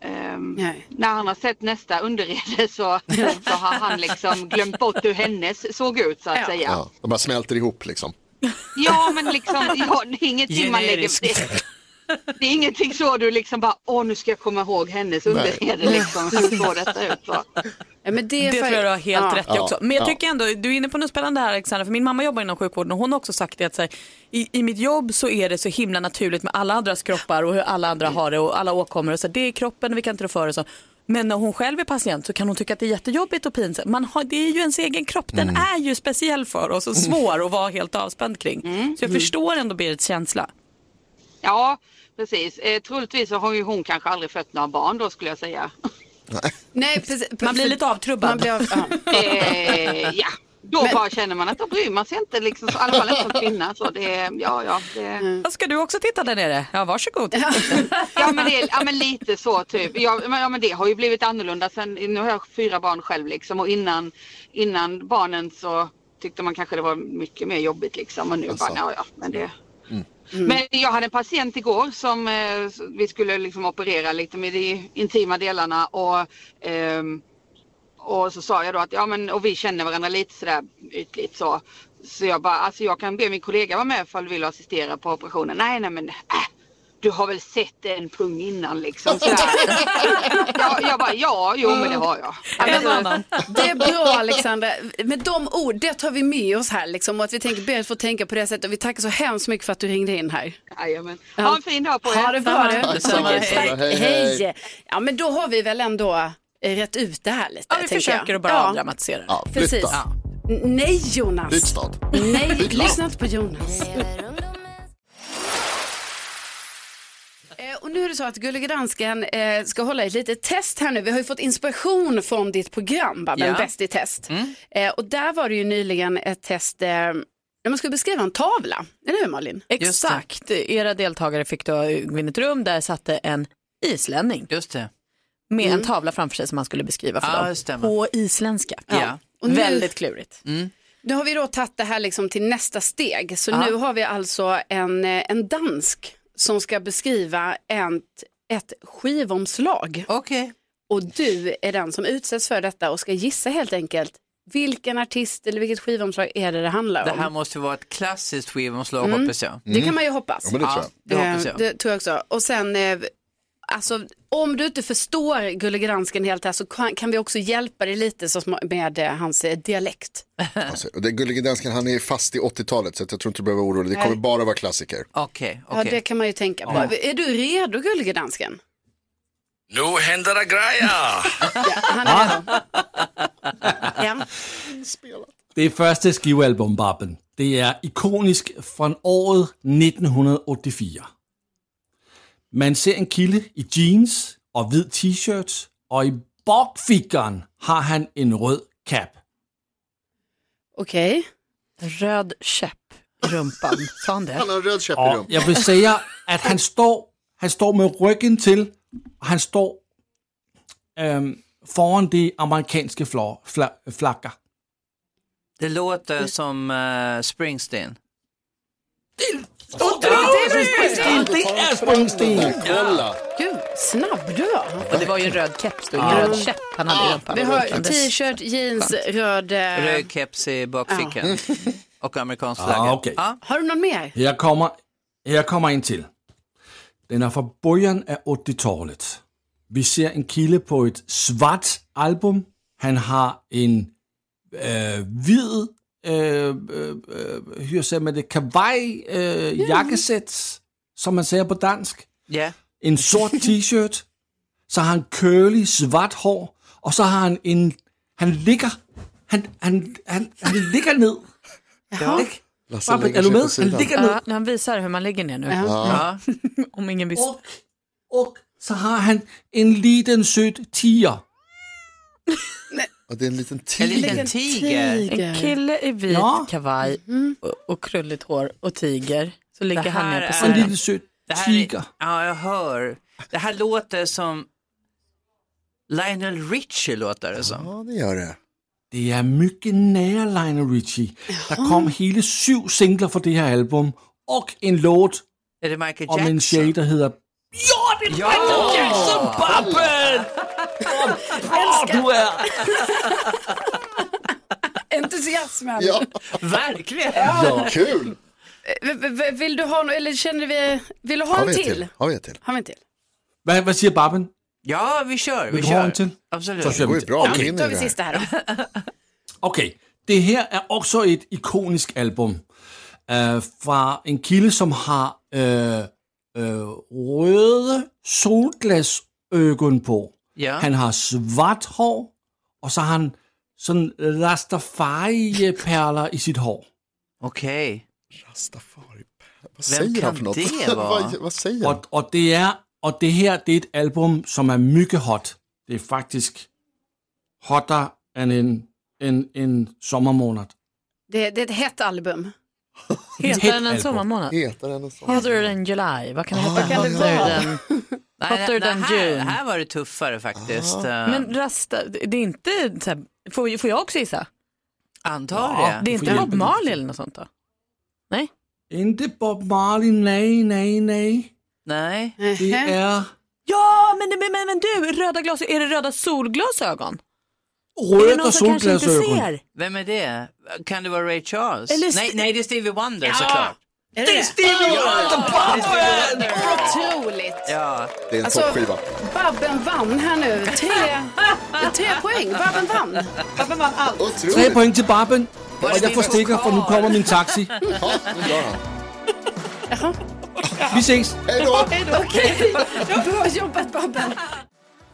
[SPEAKER 13] Ehm, När han har sett nästa underrede så, så har han liksom glömt bort hur hennes såg ut så att säga.
[SPEAKER 2] Ja, de bara smälter ihop liksom.
[SPEAKER 13] Ja, men liksom, ja, det är ingenting man lägger...
[SPEAKER 2] Generiskt.
[SPEAKER 13] Det, det är ingenting så du liksom bara, åh nu ska jag komma ihåg hennes
[SPEAKER 2] Nej.
[SPEAKER 13] underrede liksom, hur såg detta ut? va?
[SPEAKER 1] men det
[SPEAKER 5] det
[SPEAKER 1] är för-
[SPEAKER 5] tror jag du har helt
[SPEAKER 1] Ja.
[SPEAKER 5] rätt i också. Men jag
[SPEAKER 1] Ja.
[SPEAKER 5] tycker ändå, du är inne på något spännande här Alexandra, för min mamma jobbar inom sjukvården och hon har också sagt det att så här, i, i mitt jobb så är det så himla naturligt med alla andras kroppar och hur alla andra har det och alla åkommor och så här, det är kroppen, vi kan inte rå för det så. Men när hon själv är patient så kan hon tycka att det är jättejobbigt och pinsamt. Man har, det är ju ens egen kropp, den är ju speciell för oss och svår att vara helt avspänd kring. Så jag
[SPEAKER 13] Mm.
[SPEAKER 5] förstår ändå Berits känsla.
[SPEAKER 13] Ja, precis. Eh, troligtvis så har ju hon kanske aldrig fött några barn då skulle jag säga.
[SPEAKER 1] Nej, precis,
[SPEAKER 5] Man blir lite avtrubbad.
[SPEAKER 1] Man blir av, ja.
[SPEAKER 13] Eh, ja, då bara känner man att då bryr man sig inte liksom, så, i alla fall inte som kvinna. Så det, ja, ja, det...
[SPEAKER 5] Ska du också titta där nere? Ja, varsågod.
[SPEAKER 13] Ja men, det, är- ja men lite så typ. Ja men, ja men det har ju blivit annorlunda sen, nu har jag fyra barn själv liksom och innan, innan barnen så tyckte man kanske det var mycket mer jobbigt liksom och nu
[SPEAKER 15] Alltså.
[SPEAKER 13] bara ja ja men det. Men jag hade en patient igår som eh, s- vi skulle liksom operera lite med de intima delarna och ehm, och så sa jag då att ja men och vi känner varandra lite sådär ytligt så. Så jag bara, alltså jag kan be min kollega vara med ifall du vill assistera på operationen. Nej nej men äh, du har väl sett en pung innan liksom sådär. jag, jag bara ja jo men det har jag.
[SPEAKER 1] Det är bra Alexandra. Med de ord, det tar vi med oss här liksom. Och att vi tänker, Berit får tänka på det sättet. Och vi tackar så hemskt mycket för att du ringde in här.
[SPEAKER 13] Jajamän. Ha en fin dag på er.
[SPEAKER 1] Ha det bra du.
[SPEAKER 13] Tack så mycket.
[SPEAKER 1] Tack.
[SPEAKER 13] Hej,
[SPEAKER 1] Hej,
[SPEAKER 13] hej.
[SPEAKER 1] Ja men då har vi väl ändå eh, rätt ut det här lite.
[SPEAKER 5] Ja, vi
[SPEAKER 1] tänker
[SPEAKER 5] försöker
[SPEAKER 1] jag.
[SPEAKER 5] att bara avdramatisera det. Ja, flytta.
[SPEAKER 1] Precis.
[SPEAKER 5] Ja.
[SPEAKER 1] N- Nej Jonas.
[SPEAKER 5] Byt stad.
[SPEAKER 1] Nej,
[SPEAKER 5] Byt land.
[SPEAKER 1] lyssna inte på Jonas. Eh, Och nu är det så att Gullige Dansken eh, ska hålla ett litet test här nu. Vi har ju fått inspiration från ditt program, Babben,
[SPEAKER 15] Ja.
[SPEAKER 1] Bäst i test. Eh, och där var det ju nyligen ett test eh, där man skulle beskriva en tavla. Eller hur Malin?
[SPEAKER 5] Exakt. Era deltagare fick då vinna ett rum där satte en islänning.
[SPEAKER 14] Just det.
[SPEAKER 5] Med
[SPEAKER 14] Mm.
[SPEAKER 5] en tavla framför sig som man skulle beskriva för
[SPEAKER 14] Ja, det
[SPEAKER 5] dem.
[SPEAKER 14] stämmer.
[SPEAKER 5] På isländska.
[SPEAKER 14] Ja. Mm.
[SPEAKER 1] Och nu-
[SPEAKER 5] Väldigt klurigt.
[SPEAKER 1] Nu har vi då tagit det här liksom till nästa steg. Så
[SPEAKER 5] Ja.
[SPEAKER 1] nu har vi alltså en, eh, en dansk som ska beskriva ett, ett skivomslag.
[SPEAKER 14] Okay.
[SPEAKER 1] Och du är den som utsätts för detta och ska gissa helt enkelt vilken artist eller vilket skivomslag är det det handlar om.
[SPEAKER 14] Det här måste vara ett klassiskt skivomslag
[SPEAKER 1] Mm.
[SPEAKER 14] hoppas jag.
[SPEAKER 1] Det kan man ju hoppas.
[SPEAKER 14] Ja, men det tror jag. det hoppas
[SPEAKER 1] Eh,
[SPEAKER 14] jag.
[SPEAKER 1] Det tror jag också. Och sen, eh, alltså, om du inte förstår Gullige Dansken helt här så kan, kan vi också hjälpa dig lite så, små- med eh, hans eh, dialekt.
[SPEAKER 2] Alltså, och det gullige dansken, han är fast i 80-talet så att jag tror inte du behöver vara orolig. Det kommer
[SPEAKER 1] Nej.
[SPEAKER 2] bara vara klassiker.
[SPEAKER 14] Okej,
[SPEAKER 1] Ja, det kan man ju tänka på.
[SPEAKER 2] Ja.
[SPEAKER 1] Är du redo Gullige Dansken?
[SPEAKER 16] Nu händer det grejer!
[SPEAKER 1] Han är redo. Ja.
[SPEAKER 3] Det første skivealbum, Babben, det er ikonisk fra året 1984. Man ser en kilde i jeans og hvid t-shirt, og i bogfigeren har han en rød cap.
[SPEAKER 1] Okej.
[SPEAKER 5] Röd käpp i rumpan. Sa han det?
[SPEAKER 2] Han har en röd käpp i
[SPEAKER 3] Og jeg vil sige, at han står, han står med ryggen til, og han står øhm, foran de amerikanske flag, flag, flagger.
[SPEAKER 14] Det låter som eh, Springsteen.
[SPEAKER 3] Det er Springsteen!
[SPEAKER 2] Kolla!
[SPEAKER 1] Gud, snabb du var.
[SPEAKER 5] Och det var ju en röd keps då, ingen
[SPEAKER 14] Ja.
[SPEAKER 5] röd käpp han hade i rumpan.
[SPEAKER 1] Vi har t-shirt, jeans, röd... eh,
[SPEAKER 14] Röd keps i bakfickan. Och amerikansk
[SPEAKER 3] Ah,
[SPEAKER 14] flagga.
[SPEAKER 3] okej.
[SPEAKER 1] Har du någon mer?
[SPEAKER 3] Her kommer, her kommer en til. Den er fra bøgeren af 80-tallet. Vi ser en kilde på et svart album. Han har en øh, hvid øh, øh, øh, hør ser man det, kawaii øh, jakkesæt, som man siger på dansk.
[SPEAKER 14] Ja.
[SPEAKER 3] En sort t-shirt. Så har han curly svart hår. Og så har han en... Han ligger... Han, han, han, han ligger ned.
[SPEAKER 5] Ja.
[SPEAKER 3] Ikke? Babben, er du med? Han ligger ned.
[SPEAKER 5] Ja, han visar hur man ligger ner nu.
[SPEAKER 3] Ja.
[SPEAKER 5] Ja. Om ingen visste.
[SPEAKER 3] Och så har han en liten söt tiger.
[SPEAKER 2] Ja, det är en liten
[SPEAKER 14] En
[SPEAKER 2] tiger.
[SPEAKER 14] liten tiger.
[SPEAKER 5] En kille i vit
[SPEAKER 14] Ja. Mm.
[SPEAKER 5] kavaj och, och krulligt hår och tiger. Så
[SPEAKER 14] Det
[SPEAKER 5] ligger han
[SPEAKER 14] här
[SPEAKER 5] ner på
[SPEAKER 14] är-
[SPEAKER 5] sidan.
[SPEAKER 14] En liten
[SPEAKER 5] söt
[SPEAKER 14] Det här är, ja, jag hör. Det här låter som Lionel Richie låter det som.
[SPEAKER 2] Ja, det gör det.
[SPEAKER 3] Det er mycket nære Lionel Richie. Der kom hele syv singler fra det her album, og en låt
[SPEAKER 14] Är det Michael
[SPEAKER 3] om en
[SPEAKER 14] Jackson?
[SPEAKER 3] tjej, der hedder...
[SPEAKER 14] Ja, det är
[SPEAKER 3] Michael Jackson, Babben! Åh, du er...
[SPEAKER 1] Entusiasmen.
[SPEAKER 2] Ja.
[SPEAKER 14] Verkligen.
[SPEAKER 1] Ja. Eh,
[SPEAKER 2] Kul!
[SPEAKER 1] V- v- Vill du ha någon, eller känner vi, vill du ha
[SPEAKER 3] Har
[SPEAKER 1] en
[SPEAKER 3] vi en
[SPEAKER 1] till?
[SPEAKER 3] till?
[SPEAKER 2] Har vi en till?
[SPEAKER 1] Har vi en till?
[SPEAKER 3] Hvad, hvad siger Babben?
[SPEAKER 14] Ja, vi kör.
[SPEAKER 3] Vil
[SPEAKER 14] Vi
[SPEAKER 3] du have
[SPEAKER 14] kör.
[SPEAKER 3] en til?
[SPEAKER 14] Absolut.
[SPEAKER 3] Så kör vi till.
[SPEAKER 1] Ja, då tar vi sista här då.
[SPEAKER 3] Okay, det her er også et ikonisk album øh, fra en kilde, som har øh, øh, røde solglasøgon på.
[SPEAKER 14] Ja.
[SPEAKER 3] Han har svart hår, og så har han sådan rastafari-perler i sit hår.
[SPEAKER 14] Okay.
[SPEAKER 2] Rastafari. Vad
[SPEAKER 3] Hvem
[SPEAKER 2] säger han
[SPEAKER 3] kan
[SPEAKER 2] för något?
[SPEAKER 3] det vara?
[SPEAKER 2] vad, vad säger han?
[SPEAKER 3] Og, og, det er, og det her, det er et album, som er mycket hot. Det er faktisk hotter end en, en, en sommermåned.
[SPEAKER 1] Det, det är ett hett album.
[SPEAKER 5] Heter den en sommarmånad?
[SPEAKER 2] Heter den en
[SPEAKER 5] Hotter than July. Vad kan det heta?
[SPEAKER 1] Vad kan det
[SPEAKER 5] Hotter
[SPEAKER 1] vara?
[SPEAKER 5] than- Hotter than
[SPEAKER 14] här,
[SPEAKER 5] June.
[SPEAKER 14] här var det tuffare faktiskt. Eh,
[SPEAKER 5] Men rasta, det är inte så här, får, får jag också gissa?
[SPEAKER 14] Antar
[SPEAKER 5] Ja,
[SPEAKER 14] det.
[SPEAKER 5] Det är inte Bob Marley eller något sånt då?
[SPEAKER 3] Inte Bob Marley, nej, nej, nej.
[SPEAKER 14] Nej.
[SPEAKER 3] Det er
[SPEAKER 5] Ja, men, men, men, men du, röda glasögon, är det röda solglasögon?
[SPEAKER 3] Röda
[SPEAKER 5] är det någon som kanske inte
[SPEAKER 3] solglasögon.
[SPEAKER 5] ser?
[SPEAKER 14] Vem är det? Kan det vara Ray Charles?
[SPEAKER 5] Eller
[SPEAKER 14] nej,
[SPEAKER 5] Ste-
[SPEAKER 14] nej, det är Stevie Wonder såklart.
[SPEAKER 1] Är
[SPEAKER 14] Det är Stevie Wonder!
[SPEAKER 1] Otroligt.
[SPEAKER 14] Ja.
[SPEAKER 2] Det är en
[SPEAKER 1] Alltså-
[SPEAKER 2] toppskiva.
[SPEAKER 1] Babben vann här nu. Tre, tre poäng. Babben vann. Babben vann allt.
[SPEAKER 3] Tre point til Babben, og jeg får stikker, for nu kommer min taxi.
[SPEAKER 2] Ja, nu gör han.
[SPEAKER 3] Vi ses.
[SPEAKER 2] Hej då!
[SPEAKER 1] Okej. Bra jobbat Babben.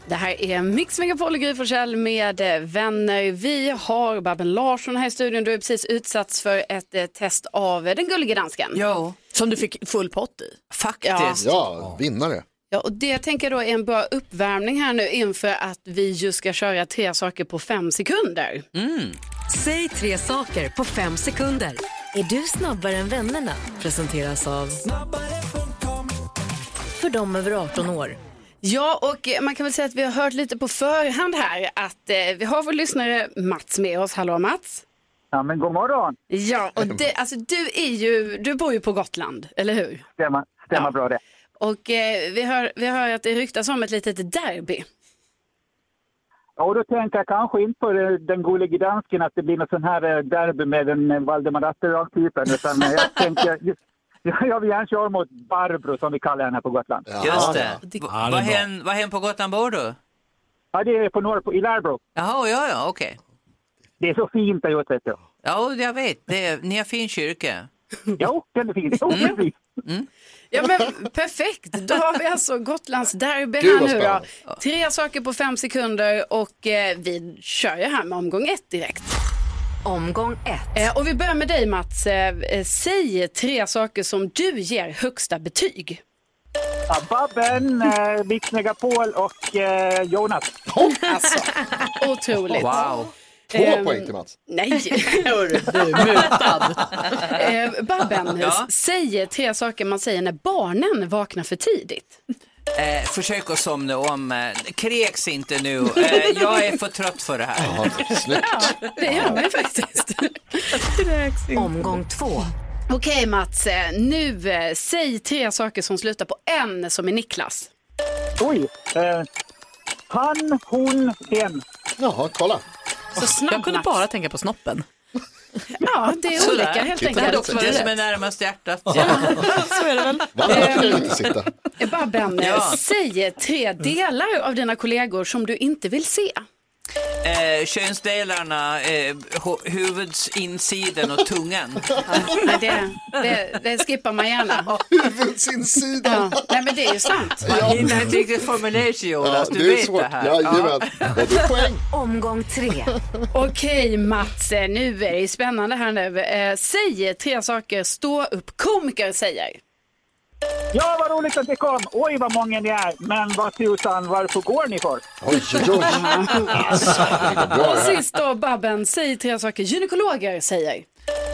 [SPEAKER 1] Det här är Mix Megapol och Gry Forssell med eh, vänner. Vi har Babben Larsson här i studion. Du har precis utsatts för ett eh, test av eh, den gullige dansken.
[SPEAKER 14] Ja.
[SPEAKER 5] Som du fick full pott i.
[SPEAKER 14] Faktiskt.
[SPEAKER 2] Ja, vinnare.
[SPEAKER 1] Ja, och det tänker jag då är en bra uppvärmning här nu inför att vi just ska köra tre saker på fem sekunder.
[SPEAKER 12] Mm. Säg tre saker på fem sekunder. Är du snabbare än vännerna? Presenteras av... För dem över 18 år.
[SPEAKER 1] Ja, och eh, man kan väl säga att vi har hört lite på förhand här att eh, vi har vår lyssnare Mats med oss. Hallå Mats!
[SPEAKER 17] Ja, men god morgon.
[SPEAKER 1] Ja, och det, alltså, du, är ju, du bor ju på Gotland, eller hur?
[SPEAKER 17] Stämmer, stämmer bra det.
[SPEAKER 1] Och eh, vi, hör, vi hör att det ryktas om ett litet derby.
[SPEAKER 17] Och då tänker jag kanske inte på eh, den gullige dansken att det blir någon sån här eh, derby med den eh, Valdemar Atterdag-typen. Utan eh, jag tänker, jag, jag vill gärna köra mot Barbro som vi kallar henne på Gotland.
[SPEAKER 14] Just det. V- Vad hen, vad hen på Gotland bor du?
[SPEAKER 17] Ja, det är på norr, på, i Lärbro.
[SPEAKER 14] Jaha, ja, ja, okej.
[SPEAKER 17] Det är så fint där ute, vet du.
[SPEAKER 14] Ja, jag vet. Det är, ni har fin kyrka. Mm.
[SPEAKER 17] Jo, den är fin. Oh, Jo, precis.
[SPEAKER 1] Ja men perfekt, då har vi alltså Gotlands derby
[SPEAKER 17] Gud,
[SPEAKER 1] här
[SPEAKER 17] vad
[SPEAKER 1] nu då.
[SPEAKER 17] spännande.
[SPEAKER 1] Tre saker på fem sekunder och eh, vi kör ju här med omgång ett direkt.
[SPEAKER 12] Omgång ett.
[SPEAKER 1] Eh, och vi börjar med dig Mats. Eh, eh, säg tre saker som du ger högsta betyg.
[SPEAKER 17] Ja, Babben, eh, Mix Megapol och eh, Jonas.
[SPEAKER 1] Alltså, otroligt.
[SPEAKER 17] Wow.
[SPEAKER 1] Två Ehm, poäng till
[SPEAKER 2] Mats.
[SPEAKER 1] Nej, hörru du, mutad. Eh, Babben,
[SPEAKER 14] Ja.
[SPEAKER 1] säg tre saker man säger när barnen vaknar för tidigt.
[SPEAKER 14] Eh, försök att somna om. Eh, kräks inte nu. Eh, jag är för trött för det här.
[SPEAKER 1] Det gör man ju faktiskt.
[SPEAKER 12] Omgång två.
[SPEAKER 1] Okej Mats, eh, nu eh, säg tre saker som slutar på N som är Niklas.
[SPEAKER 17] Oj. Eh, han, hon, hen.
[SPEAKER 2] Jaha, kolla.
[SPEAKER 1] Så snabbt,
[SPEAKER 5] jag kunde
[SPEAKER 1] Mats.
[SPEAKER 5] bara tänka på snoppen.
[SPEAKER 1] Ja, det är olika
[SPEAKER 14] Sådär.
[SPEAKER 1] helt
[SPEAKER 14] Det är
[SPEAKER 1] enkelt.
[SPEAKER 14] också det som är närmast hjärtat.
[SPEAKER 1] Så är det väl. Eh, Babben, eh,
[SPEAKER 14] Ja.
[SPEAKER 1] säg tre delar av dina kollegor som du inte vill se.
[SPEAKER 14] Eh, könsdelarna, eh, hu- huvudets insidan och tungan.
[SPEAKER 1] Nej, det, det, det skippar man gärna.
[SPEAKER 2] Huvudsinsidan.
[SPEAKER 1] Ja. Nej, men det är ju sant.
[SPEAKER 14] Man hinner inte riktigt formulera sig Jonas,
[SPEAKER 2] Ja,
[SPEAKER 14] du
[SPEAKER 2] det är
[SPEAKER 14] vet
[SPEAKER 2] svårt.
[SPEAKER 14] det här.
[SPEAKER 2] Jajamän. Ja, det är poäng.
[SPEAKER 12] Omgång tre.
[SPEAKER 1] Okej Mats, eh, nu är det spännande här nu. Eh, Säg tre saker stå upp komiker säger.
[SPEAKER 17] Ja, vad roligt att ni kom! Oj, vad många ni är! Men vad tusan, varför går ni för?
[SPEAKER 2] Oj, oj, oj. Alltså, det går bra
[SPEAKER 1] Och
[SPEAKER 2] det här.
[SPEAKER 1] sist då Babben, säg tre saker gynekologer säger.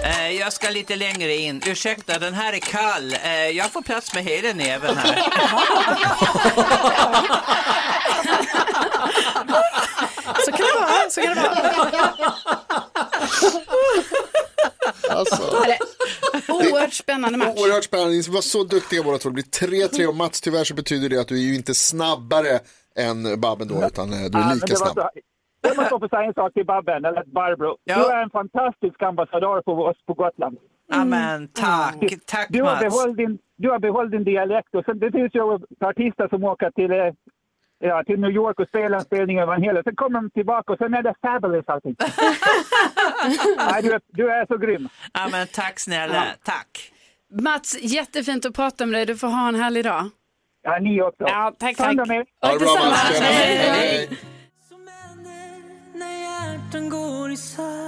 [SPEAKER 14] Eh, jag ska lite längre in. Ursäkta, den här är kall. Eh, jag får plats med hela näven här.
[SPEAKER 1] Så kan det vara, så kan det vara.
[SPEAKER 2] Alltså.
[SPEAKER 1] Ja, det- Oerhört spännande match.
[SPEAKER 2] Oerhört spännande, ni var så duktiga båda två. Det blir 3-3 och Mats, tyvärr så betyder det att du är ju inte snabbare än Babben då, utan eh, du
[SPEAKER 17] Ja,
[SPEAKER 2] är
[SPEAKER 17] men
[SPEAKER 2] lika
[SPEAKER 17] det var
[SPEAKER 2] snabb.
[SPEAKER 17] så- Jag måste få säga en sak till Babben, eller Barbro. Du är en fantastisk ambassadör för oss på Gotland. Mm.
[SPEAKER 14] Amen, tack. Tack
[SPEAKER 17] du har,
[SPEAKER 14] Mats.
[SPEAKER 17] behållit din, du har behållit din dialekt och sen, det finns ju artister som åker till, eh, ja, till New York och spelar en spelning över en hel Sen kommer de tillbaka och sen är det fabulous allting. Nej, du, är- du är så grym.
[SPEAKER 14] Ja, men tack snälla. Tack.
[SPEAKER 1] Mats, jättefint att prata med dig. Du får ha en härlig dag.
[SPEAKER 17] Ja, ni också.
[SPEAKER 1] Ja, tack,
[SPEAKER 17] Ta
[SPEAKER 1] tack.
[SPEAKER 17] hand om er.
[SPEAKER 1] Ja,
[SPEAKER 17] Ha det bra,
[SPEAKER 1] detsamma.
[SPEAKER 17] Mats. Tjena.
[SPEAKER 1] Hej, hej.
[SPEAKER 17] Hej.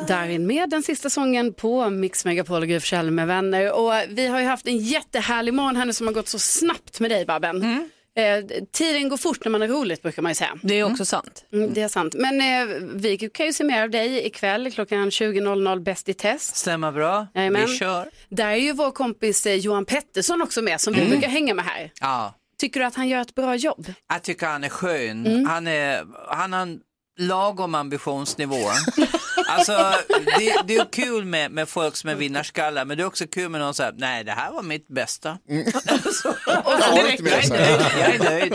[SPEAKER 1] Darin med den sista sången på Mix Megapol och Gry Forssell med vänner. Och vi har ju haft en jättehärlig morgon här nu som har gått så snabbt med dig Babben. Eh, tiden går fort när man är roligt brukar man ju säga.
[SPEAKER 5] Det är också sant.
[SPEAKER 1] Mm, det är sant. Men eh, vi kan ju se mer av dig ikväll klockan 20.00 Bäst i test.
[SPEAKER 14] Stämmer bra.
[SPEAKER 1] Jajamän.
[SPEAKER 14] Vi kör.
[SPEAKER 1] Där är ju vår kompis eh, Johan Pettersson också med som vi brukar hänga med här.
[SPEAKER 14] Ja.
[SPEAKER 1] Tycker du att han gör ett bra jobb?
[SPEAKER 14] Jag tycker han är skön. Han, är, han har en lagom ambitionsnivå. alltså, det, det är kul med, med folk som är vinnarskallar, men det är också kul med någon som säger, nej det här var mitt bästa.
[SPEAKER 1] Jag
[SPEAKER 14] direkt, jag är nöjd, jag är nöjd.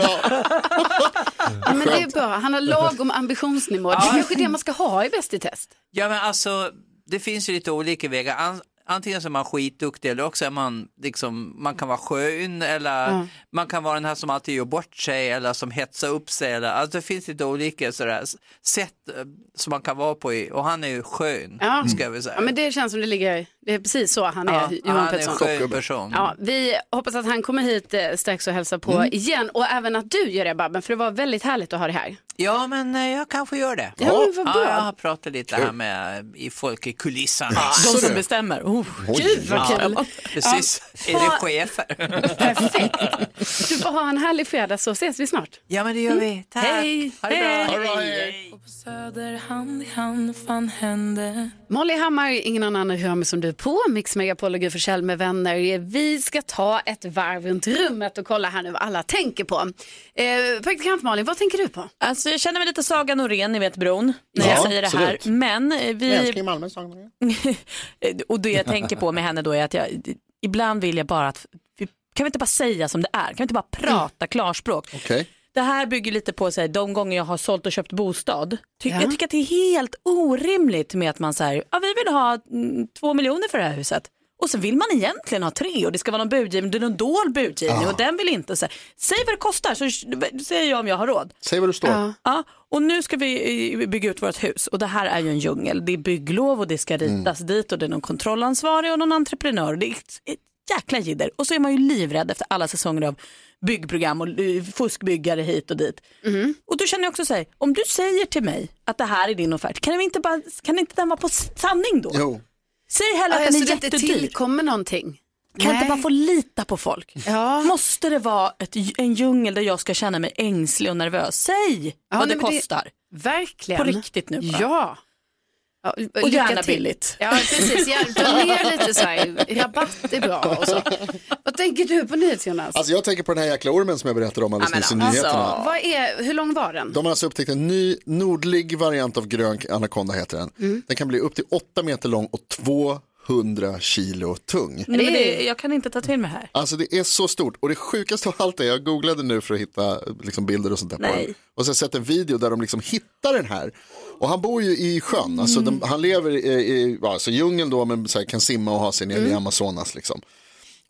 [SPEAKER 1] Ja, men det är bra, han har lagom ambitionsnivå. Det är kanske det man ska ha i Bäst i test.
[SPEAKER 14] Ja men alltså, det finns ju lite olika vägar. An- antingen så är man skitduktig eller också är man liksom, man kan vara skön eller
[SPEAKER 1] Ja.
[SPEAKER 14] man kan vara den här som alltid gör bort sig eller som hetsar upp sig. Eller, alltså det finns lite olika sådär, s- sätt eh, som man kan vara på i, och han är ju skön,
[SPEAKER 1] Ja.
[SPEAKER 14] ska jag väl säga.
[SPEAKER 1] Ja, men det känns som det ligger, det är precis så han är,
[SPEAKER 14] Ja,
[SPEAKER 1] Johan
[SPEAKER 14] han är
[SPEAKER 1] Pettersson.
[SPEAKER 14] en skön person.
[SPEAKER 1] Ja, vi hoppas att han kommer hit eh, strax och hälsar på
[SPEAKER 14] Mm.
[SPEAKER 1] igen och även att du gör det Babben, för det var väldigt härligt att ha det här.
[SPEAKER 14] Ja, men eh, jag kanske gör det.
[SPEAKER 1] Ja, men vad bra.
[SPEAKER 14] jag har pratat lite här med eh, i folk i kulisserna.
[SPEAKER 1] De som
[SPEAKER 14] bestämmer.
[SPEAKER 5] Oh.
[SPEAKER 1] Oj. Gud, vad kul.
[SPEAKER 14] precis,
[SPEAKER 1] Ja.
[SPEAKER 14] är det chefer?
[SPEAKER 1] Du får ha en härlig fredag så ses vi snart. Mm.
[SPEAKER 14] Ja men det gör vi. Tack.
[SPEAKER 1] Hej.
[SPEAKER 14] Ha det bra. Ha det bra, hej.
[SPEAKER 18] Och på Söder hand i hand fan hände
[SPEAKER 1] Molly Hammar, ingen annan hör mig som du på Mix Megapol och Gry Forssell med vänner. Vi ska ta ett varv runt rummet och kolla här nu vad alla tänker på. Eh, praktikant Malin, vad tänker du på?
[SPEAKER 5] Alltså jag känner mig lite Saga Norén, ni vet bron, när jag
[SPEAKER 1] Ja,
[SPEAKER 5] säger det här.
[SPEAKER 1] absolut.
[SPEAKER 5] Men eh,
[SPEAKER 1] Jag
[SPEAKER 5] vi...
[SPEAKER 1] älskar ju
[SPEAKER 5] Malmö, Saga Norén. Eh, och det jag tänker på med henne då är att jag, ibland vill jag bara att, vi- kan vi inte bara säga som det är? Kan vi inte bara
[SPEAKER 18] Mm.
[SPEAKER 5] prata klarspråk?
[SPEAKER 2] Okej.
[SPEAKER 5] Det här bygger lite på så här, de gånger jag har sålt och köpt bostad. Ty- Jag tycker att det är helt orimligt med att man säger, ja vi vill ha mm, två miljoner för det här huset. Och så vill man egentligen ha tre och det ska vara någon budgivning, det är någon dold budgivning
[SPEAKER 2] Ja.
[SPEAKER 5] och den vill inte. Så här, Säg vad det kostar så säger jag om jag har råd.
[SPEAKER 2] Säg var du står.
[SPEAKER 5] Ja. och nu ska vi eh, bygga ut vårt hus och det här är ju en djungel. Det är bygglov och det ska ritas dit och det är någon kontrollansvarig och någon entreprenör. Det är ett, ett jäkla jidder. Och så är man ju livrädd efter alla säsonger av byggprogram och eh, fuskbyggare hit och dit.
[SPEAKER 1] Mm.
[SPEAKER 5] Och då känner jag också så här, om du säger till mig att det här är din offert, kan, vi inte, bara, kan inte den vara på sanning då? Säg hellre att
[SPEAKER 1] Ja,
[SPEAKER 5] den
[SPEAKER 1] så
[SPEAKER 5] är
[SPEAKER 1] det inte
[SPEAKER 5] jättedyr.
[SPEAKER 1] tillkommer någonting.
[SPEAKER 5] Kan jag
[SPEAKER 1] Nej.
[SPEAKER 5] inte bara få lita på folk? Måste det vara ett, en djungel där jag ska känna mig ängslig och nervös? Säg
[SPEAKER 1] Ja,
[SPEAKER 5] vad
[SPEAKER 1] nej,
[SPEAKER 5] det
[SPEAKER 1] men det-
[SPEAKER 5] kostar.
[SPEAKER 1] verkligen.
[SPEAKER 5] På riktigt nu bara.
[SPEAKER 1] Ja. Ja,
[SPEAKER 5] Och
[SPEAKER 1] lycka
[SPEAKER 5] gärna
[SPEAKER 1] till.
[SPEAKER 5] billigt.
[SPEAKER 1] Ja, precis. Ja, ta ner lite så här. Rabatt är bra och så. Vad tänker du på nyhets, Jonas?
[SPEAKER 2] Alltså jag tänker på den här jäkla ormen som jag berättade om alldeles nyss i
[SPEAKER 14] alltså.
[SPEAKER 5] alltså.
[SPEAKER 2] nyheterna.
[SPEAKER 1] vad är, hur lång var den?
[SPEAKER 2] De har alltså upptäckt en ny nordlig variant av grön anakonda heter den.
[SPEAKER 1] Mm.
[SPEAKER 2] Den kan bli upp till 8 meter lång och 200 kilo tung.
[SPEAKER 5] Nej, men det, jag kan inte ta till mig här.
[SPEAKER 2] Alltså det är så stort och det sjukaste av allt är, jag googlade nu för att hitta liksom, bilder och sånt där på
[SPEAKER 5] Nej.
[SPEAKER 2] den. Och så har jag sett en video där de liksom hittar den här. Och han bor ju i sjön, alltså
[SPEAKER 5] Mm.
[SPEAKER 2] de, han lever i, i ja, alltså djungeln då men så här, kan simma och ha sig nere
[SPEAKER 5] Mm.
[SPEAKER 2] i Amazonas liksom.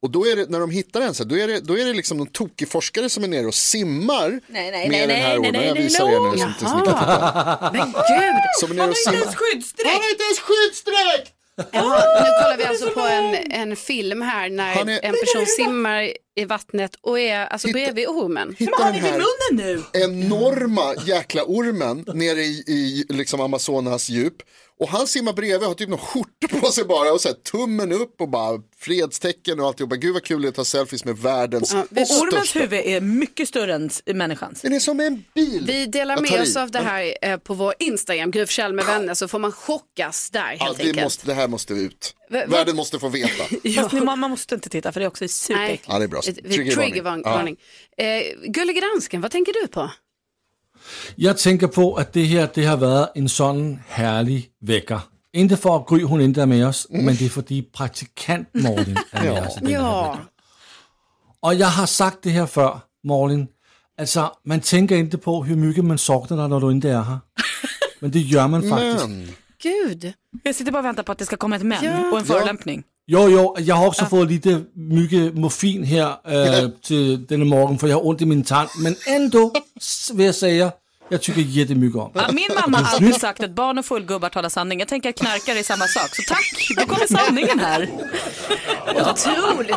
[SPEAKER 2] Och då är det, när de hittar den, så här, då är det, då är det liksom någon tokig forskare som är nere och simmar
[SPEAKER 5] Nej, nej,
[SPEAKER 2] med
[SPEAKER 5] nej,
[SPEAKER 2] den här
[SPEAKER 5] nej, nej,
[SPEAKER 2] ormen.
[SPEAKER 5] nej,
[SPEAKER 2] Jag
[SPEAKER 5] nej,
[SPEAKER 2] visar
[SPEAKER 5] nej.
[SPEAKER 2] er nu som tills ni kan titta.
[SPEAKER 1] Men gud!
[SPEAKER 2] Som är nere och simmar.
[SPEAKER 5] skyddsdräkt!
[SPEAKER 2] Han har inte ens skyddsdräkt!
[SPEAKER 1] Ja, nu kollar vi alltså på en, en film här när en person simmar i vattnet och är alltså bredvid ormen.
[SPEAKER 2] Hitta den här enorma jäkla ormen nere i, i liksom Amazonas djup. Och han simmar bredvid, har typ någon skjorta på sig bara och så här, tummen upp och bara fredstecken och alltihopa. Gud vad kul det är att ta selfies med världens
[SPEAKER 5] Ja,
[SPEAKER 2] största.
[SPEAKER 5] ormens huvud är mycket större än s- människans.
[SPEAKER 2] Den är som en bil.
[SPEAKER 1] Vi delar
[SPEAKER 2] Jag tar
[SPEAKER 1] med
[SPEAKER 2] i.
[SPEAKER 1] oss av det här eh, på vår Instagram, Gry Forssell med vänner, så får man chockas där helt
[SPEAKER 2] Ja,
[SPEAKER 1] enkelt.
[SPEAKER 2] vi måste, det här måste ut.
[SPEAKER 1] Va- va-
[SPEAKER 2] Världen måste få veta.
[SPEAKER 5] Fast ni, mamma måste inte titta för det är också superäckligt.
[SPEAKER 2] Ja, det är bra.
[SPEAKER 1] Eh, Triggervarning. Triggervarning. Eh, Gullige dansken, vad tänker du på?
[SPEAKER 3] Jag tänker på att det här det har varit en sån härlig vecka. Inte för att Gry hon inte är med oss, men det är för att praktikant Malin alltså, är med oss. i den här
[SPEAKER 1] Ja.
[SPEAKER 3] Och jag har sagt det här før, Malin. Altså, man tänker inte på hur mycket man saknar dig när du inte är här. Men det gör man faktiskt.
[SPEAKER 1] Gud.
[SPEAKER 5] Jag sitter bara och väntar på att det ska komma ett men
[SPEAKER 1] Ja.
[SPEAKER 5] och en
[SPEAKER 3] Ja.
[SPEAKER 5] förolämpning.
[SPEAKER 3] Jo, jo, jag har också fått lite mycket øh, morfin här äh, till denna morgon för jag har ont i min tand. Men ändå s- vill jag säga, jag tycker jättemycket om
[SPEAKER 5] Ja, min mamma har alltid sagt att barn och fullgubbar talar sanning. Jag tänker att knarkare är samma sak. Så tack, då kommer sanningen här.
[SPEAKER 1] Otroligt.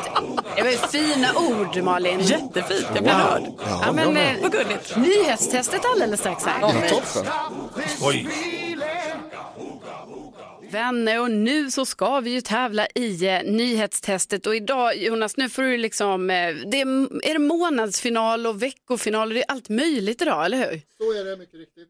[SPEAKER 1] Det var ju fina ord Malin.
[SPEAKER 5] Jättefint, jag blir rörd.
[SPEAKER 1] Ja,
[SPEAKER 5] Ja,
[SPEAKER 1] men,
[SPEAKER 5] bra.
[SPEAKER 1] eh,
[SPEAKER 5] Vad gulligt.
[SPEAKER 1] Nyhetstestet alldeles strax här.
[SPEAKER 19] Oj.
[SPEAKER 1] Vänner och nu så ska vi ju tävla i eh, nyhetstestet och idag Jonas, nu får du liksom, eh, det är, är det månadsfinal och veckofinal och det är allt möjligt idag, eller hur?
[SPEAKER 2] Så är det mycket riktigt.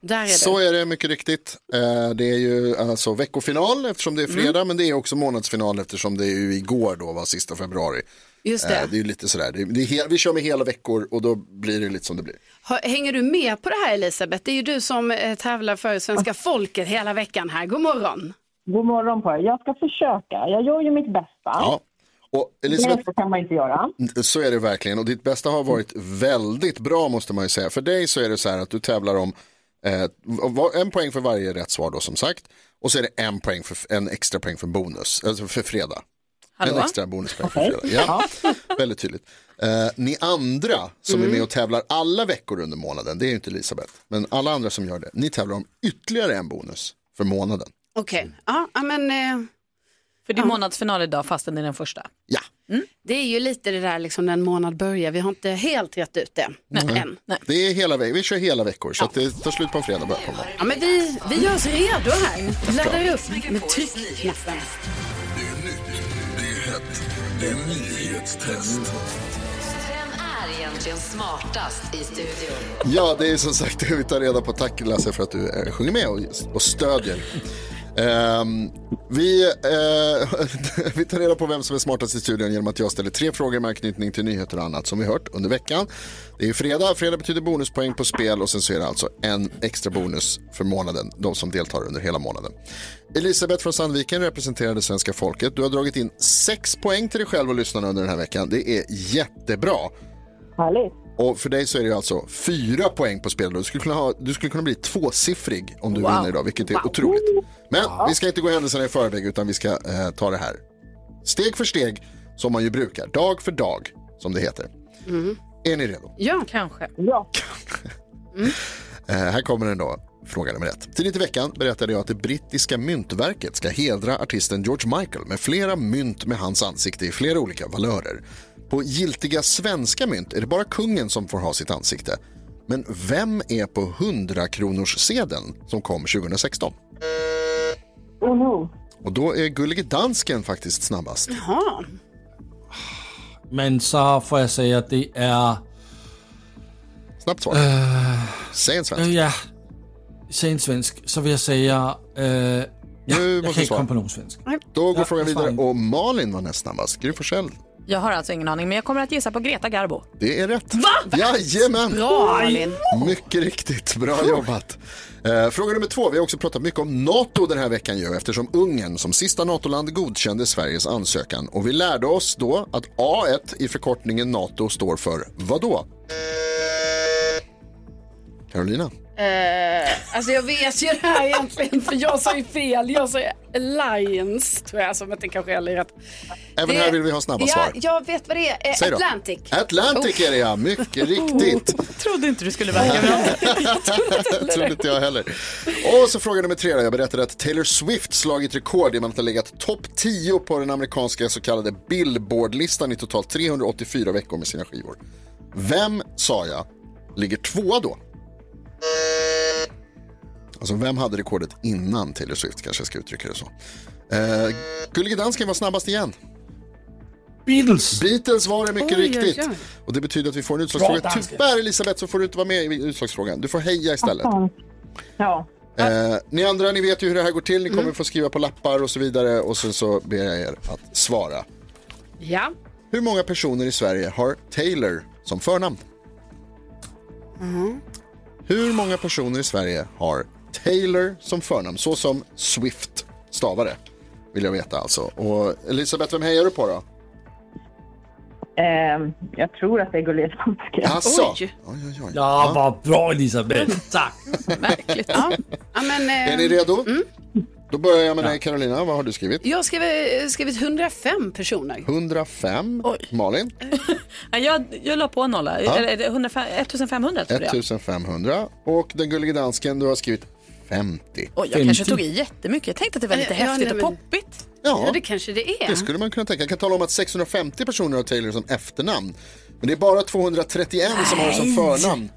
[SPEAKER 1] Där är det.
[SPEAKER 2] Så är det mycket riktigt. Eh, Det är ju alltså veckofinal eftersom det är fredag
[SPEAKER 1] Mm.
[SPEAKER 2] men det är också månadsfinal eftersom det är ju igår då var sista februari.
[SPEAKER 1] Just det.
[SPEAKER 2] Eh, Det är ju lite sådär, det är, det är, hel- vi kör med hela veckor och då blir det lite som det blir.
[SPEAKER 1] Ha- Hänger du med på det här Elisabeth? Det är ju du som eh, tävlar för svenska folket hela veckan här. God morgon.
[SPEAKER 12] God morgon på er. Jag ska försöka. Jag gör ju mitt bästa.
[SPEAKER 2] Ja. Och
[SPEAKER 12] Det
[SPEAKER 2] Elisabeth,
[SPEAKER 12] bästa kan man inte göra.
[SPEAKER 2] så är det verkligen och ditt bästa har varit väldigt bra måste man ju säga. För dig så är det så här att du tävlar om eh, var- en poäng för varje rätt svar då som sagt. Och så är det en, poäng för, en extra poäng för bonus, alltså för fredag.
[SPEAKER 12] Hallå?
[SPEAKER 2] En extra bonuspoäng för fredag. Ja. Väldigt tydligt. Eh, ni andra som är med och tävlar alla veckor under månaden, det är ju inte Elisabeth, men alla andra som gör det, ni tävlar om ytterligare en bonus för månaden.
[SPEAKER 1] Okej,
[SPEAKER 2] Mm.
[SPEAKER 1] ja, ja, men... Eh,
[SPEAKER 5] För det är månadsfinal idag fastän det är den första. Mm.
[SPEAKER 2] Ja.
[SPEAKER 1] Det är ju lite det där liksom när en månad börjar, vi har inte helt rätt ut det än.
[SPEAKER 2] Det är hela ve- vi kör hela veckor, så att det tar slut på en fredag. Bara på en måndag.
[SPEAKER 1] Ja, men vi, vi gör oss redo här, laddar upp med tryckknappen.
[SPEAKER 19] Det är nyhetstest.
[SPEAKER 20] Vem är egentligen smartast i studion?
[SPEAKER 2] Ja, det är som sagt det vi tar reda på. Tack Lasse för att du eh, sjunger med och, och stödjer. Ehm, vi, eh, vi tar reda på vem som är smartast i studion genom att jag ställer tre frågor med anknytning till nyheter och annat som vi hört under veckan. Det är ju fredag, fredag betyder bonuspoäng på spel och sen så är det alltså en extra bonus för månaden, de som deltar under hela månaden. Elisabeth från Sandviken representerade svenska folket. Du har dragit in sex poäng till dig själv och lyssnarna under den här veckan. Det är jättebra.
[SPEAKER 12] Härligt.
[SPEAKER 2] Och för dig så är det ju alltså fyra poäng på spel. Du skulle kunna, ha, du skulle kunna bli tvåsiffrig om du
[SPEAKER 12] Wow.
[SPEAKER 2] vinner idag, vilket är otroligt. Men vi ska inte gå händelserna i förväg, utan vi ska eh, ta det här steg för steg, som man ju brukar. Dag för dag, som det heter. Är ni redo?
[SPEAKER 1] Ja, kanske.
[SPEAKER 12] Ja.
[SPEAKER 2] Eh, här kommer den då, fråga nummer ett. Tidigt i veckan berättade jag att det brittiska myntverket ska hedra artisten George Michael med flera mynt med hans ansikte i flera olika valörer. På giltiga svenska mynt är det bara kungen som får ha sitt ansikte. Men vem är på 100 kronors sedeln som kom 2016?
[SPEAKER 12] Oh no.
[SPEAKER 2] Och då är Gullige Dansken faktiskt snabbast.
[SPEAKER 1] Jaha.
[SPEAKER 3] Men så får jag säga att det är... eh,
[SPEAKER 2] Snabbt svar. Säg en svensk.
[SPEAKER 3] ja, säg en svensk. Så vill jag säga... eh, ja,
[SPEAKER 2] måste
[SPEAKER 3] jag kan
[SPEAKER 2] du
[SPEAKER 3] inte
[SPEAKER 2] svara.
[SPEAKER 3] komma på någon svensk.
[SPEAKER 2] Då går
[SPEAKER 3] Ja,
[SPEAKER 2] frågan
[SPEAKER 3] fan.
[SPEAKER 2] vidare och Malin var näst snabbast. Gry Forssell,
[SPEAKER 5] Jag har alltså ingen aning men jag kommer att gissa på Greta Garbo.
[SPEAKER 2] det är rätt. Va? Jajamän!
[SPEAKER 5] Bra, Malin.
[SPEAKER 2] Mycket riktigt, bra jobbat. Eh, fråga nummer två, vi har också pratat mycket om NATO den här veckan ju, eftersom Ungern som sista NATO-land godkände Sveriges ansökan. Och vi lärde oss då att A1 i förkortningen NATO står för vad då? Carolina?
[SPEAKER 1] Eh, Eh, alltså jag vet ju det här egentligen för jag sa ju fel. Jag sa Alliance tror jag som inte kanske heller är rätt.
[SPEAKER 2] Även här vill vi ha snabba
[SPEAKER 1] ja,
[SPEAKER 2] svar.
[SPEAKER 1] Jag vet vad det är. Eh,
[SPEAKER 2] Säg då.
[SPEAKER 1] Atlantic.
[SPEAKER 2] Atlantic är det ja, mycket riktigt.
[SPEAKER 5] Trodde inte du skulle
[SPEAKER 2] Det trodde inte jag heller. Och så fråga nummer tre. då. Jag berättade att Taylor Swift slagit rekord i och med att ha legat topp 10 på den amerikanska så kallade Billboard-listan i totalt 384 veckor med sina skivor. Vem, sa jag, ligger tvåa då? Alltså vem hade rekordet innan Taylor Swift kanske jag ska uttrycka det så. Eh, Gullige dansken var snabbast igen.
[SPEAKER 15] Beatles.
[SPEAKER 2] Beatles var det mycket
[SPEAKER 15] Oj, oj, oj.
[SPEAKER 2] riktigt. Och det betyder att vi får en utslagsfråga.
[SPEAKER 15] Bra, dansken.
[SPEAKER 2] Tyvärr Elisabeth så får du inte vara med i utslagsfrågan. Du får heja istället.
[SPEAKER 12] Ja.
[SPEAKER 2] Eh, ni andra, ni vet ju hur det här går till. Ni kommer få skriva på lappar och så vidare och sen så ber jag er att svara.
[SPEAKER 1] Ja.
[SPEAKER 2] Hur många personer i Sverige har Taylor som förnamn? Hur många personer i Sverige har Taylor som förnamn, så som Swift stavare? Vill jag veta alltså. Och Elisabeth, vem hejar du på då?
[SPEAKER 12] Ehm, jag tror att det är Gullige dansken.
[SPEAKER 2] Jaså?
[SPEAKER 15] Ja, vad bra Elisabeth. Tack.
[SPEAKER 1] Ja, men, eh,
[SPEAKER 2] Är
[SPEAKER 5] Ehm,
[SPEAKER 2] ni redo?
[SPEAKER 5] mm.
[SPEAKER 2] Då börjar jag med dig Carolina, vad har du skrivit?
[SPEAKER 1] Jag har skrivit, skrivit 105 personer.
[SPEAKER 2] 105. Malin?
[SPEAKER 5] Ja, jag, jag la på en nolla.
[SPEAKER 2] Ja.
[SPEAKER 5] Eller är det 105, 1500 tror jag.
[SPEAKER 2] 1500. Och den gullige dansken, du har skrivit 50.
[SPEAKER 5] Oj, jag kanske tog i jättemycket. Jag tänkte att det var lite
[SPEAKER 1] Ja,
[SPEAKER 5] häftigt
[SPEAKER 1] nej,
[SPEAKER 5] och
[SPEAKER 1] men-
[SPEAKER 5] poppigt.
[SPEAKER 2] Ja.
[SPEAKER 1] det kanske det är.
[SPEAKER 2] Det skulle man kunna tänka. Jag kan tala om att 650 personer har Taylor som efternamn. Men det är bara 231 som har det som
[SPEAKER 1] Nej.
[SPEAKER 2] förnamn.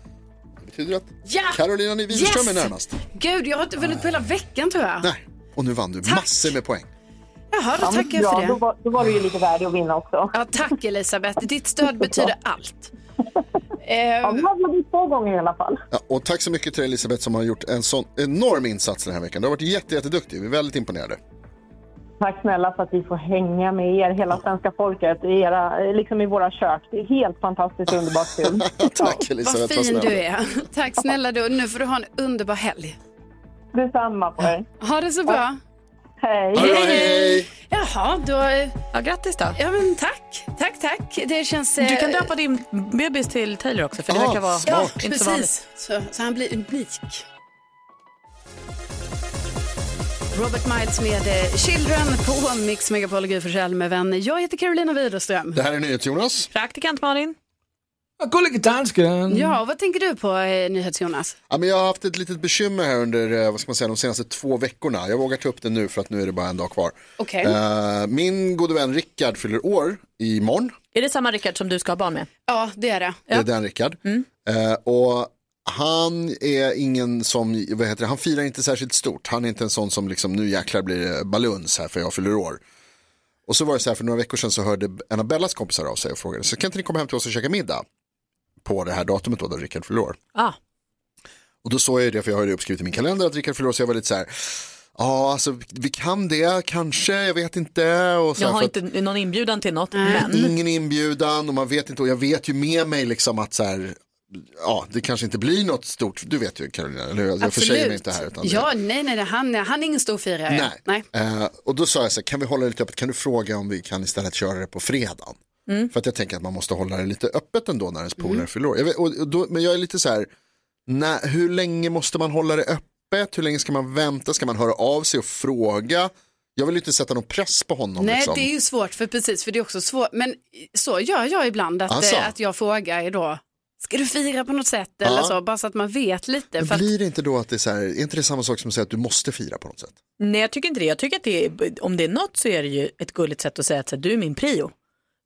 [SPEAKER 2] Det betyder att
[SPEAKER 1] Ja!
[SPEAKER 2] Carolina Widerström är närmast.
[SPEAKER 1] Gud, jag har inte vunnit på hela veckan tror jag.
[SPEAKER 2] Nej. Och nu vann du massor med poäng.
[SPEAKER 1] Jaha, då
[SPEAKER 12] Ja, men
[SPEAKER 1] tackar jag
[SPEAKER 12] ja,
[SPEAKER 1] för det.
[SPEAKER 12] då var- då var du ju lite värd att vinna också.
[SPEAKER 1] Ja, tack Elisabeth. Ditt stöd betyder allt.
[SPEAKER 5] Ehm.
[SPEAKER 12] Ja, men man vunnit två gånger i alla fall.
[SPEAKER 2] Ja, och tack så mycket till Elisabeth som har gjort en sån enorm insats den här veckan. Du har varit jätte, jätteduktig. Vi är väldigt imponerade.
[SPEAKER 12] Tack snälla för att vi får hänga med er, hela svenska folket, i era, liksom i våra kök. Det är helt fantastiskt underbart kul.
[SPEAKER 2] tack
[SPEAKER 1] Vad
[SPEAKER 2] Elisabeth.
[SPEAKER 1] fin
[SPEAKER 2] snäll.
[SPEAKER 1] du är. Tack snälla du. Nu får du ha en underbar helg.
[SPEAKER 12] Detsamma på er.
[SPEAKER 1] Ha det så bra.
[SPEAKER 12] Hej.
[SPEAKER 2] Ha det bra, hej.
[SPEAKER 1] Jaha, då... eh,
[SPEAKER 5] Ja, grattis då.
[SPEAKER 1] Ja, men tack. Tack, tack. Det känns... eh,
[SPEAKER 5] Du kan döpa din bebis till Taylor också för det
[SPEAKER 1] Ja,
[SPEAKER 5] verkar vara
[SPEAKER 1] ja,
[SPEAKER 5] inte så vanligt.
[SPEAKER 1] precis. Så, så han blir unik. Robert Miles med eh, Children på Mix Megapol och Gry Forssell med vänner. Jag heter Carolina Widerström.
[SPEAKER 2] Det här är NyhetsJonas.
[SPEAKER 5] Praktikant Malin.
[SPEAKER 15] Gullige dansken.
[SPEAKER 1] Mm. Ja, och vad tänker du på eh, NyhetsJonas?
[SPEAKER 2] Ja, men jag har haft ett litet bekymmer här under eh, vad ska man säga, de senaste två veckorna. Jag vågar ta upp det nu för att nu är det bara en dag kvar.
[SPEAKER 1] Okej.
[SPEAKER 2] Eh, min gode vän Rickard fyller år imorgon.
[SPEAKER 5] Är det samma Rickard som du ska ha barn med?
[SPEAKER 1] Ja, det är det.
[SPEAKER 2] Det är den Rickard.
[SPEAKER 5] Mm.
[SPEAKER 2] Eh, och han är ingen som, vad heter det, han firar inte särskilt stort. Han är inte en sån som liksom, nu jäklar blir det baluns här för jag fyller år. Och så var det så här för några veckor sedan så hörde en av Bellas kompisar av sig och frågade, så kan inte ni komma hem till oss och käka middag? På det här datumet då, då Rickard fyller år.
[SPEAKER 5] Ah.
[SPEAKER 2] Och då såg jag ju det, för jag har ju det uppskrivet i min kalender att Rickard fyller år, så jag var lite så här, ja alltså vi kan det kanske, jag vet inte. Och så
[SPEAKER 5] Jag
[SPEAKER 2] här,
[SPEAKER 5] har
[SPEAKER 2] för att-
[SPEAKER 5] inte någon inbjudan till något, men.
[SPEAKER 2] Ingen inbjudan och man vet inte och jag vet ju med mig liksom att så här, ja det kanske inte blir något stort, du vet ju Carolina, eller hur? Alltså, Jag försäger mig inte här. Utan det-
[SPEAKER 1] ja, nej, nej, nej, han, han är ingen stor firare.
[SPEAKER 2] Nej.
[SPEAKER 1] nej.
[SPEAKER 2] Eh, och då sa jag så här, kan vi hålla det lite öppet, kan du fråga om vi kan istället köra det på fredagen?
[SPEAKER 1] Mm.
[SPEAKER 2] För att jag tänker att man måste hålla det lite öppet ändå när ens polare fyller år. Jag vet, och och då, men jag är lite så här, nä, hur länge måste man hålla det öppet? Hur länge ska man vänta? Ska man höra av sig och fråga? Jag vill ju inte sätta någon press på honom.
[SPEAKER 1] Nej,
[SPEAKER 2] liksom.
[SPEAKER 1] det är ju svårt, för precis, för det är också svårt. Men så gör jag ibland, att,
[SPEAKER 2] Alltså.
[SPEAKER 1] eh, att jag frågar då, ska du fira på något sätt?
[SPEAKER 2] Ja.
[SPEAKER 1] Eller så, bara så att man vet lite. För
[SPEAKER 2] Men
[SPEAKER 1] att,
[SPEAKER 2] blir det inte då att det är så här, är inte det samma sak som att säga att du måste fira på något sätt?
[SPEAKER 5] Nej, jag tycker inte det. Jag tycker att det är, om det är något så är det ju ett gulligt sätt att säga att så här, du är min prio.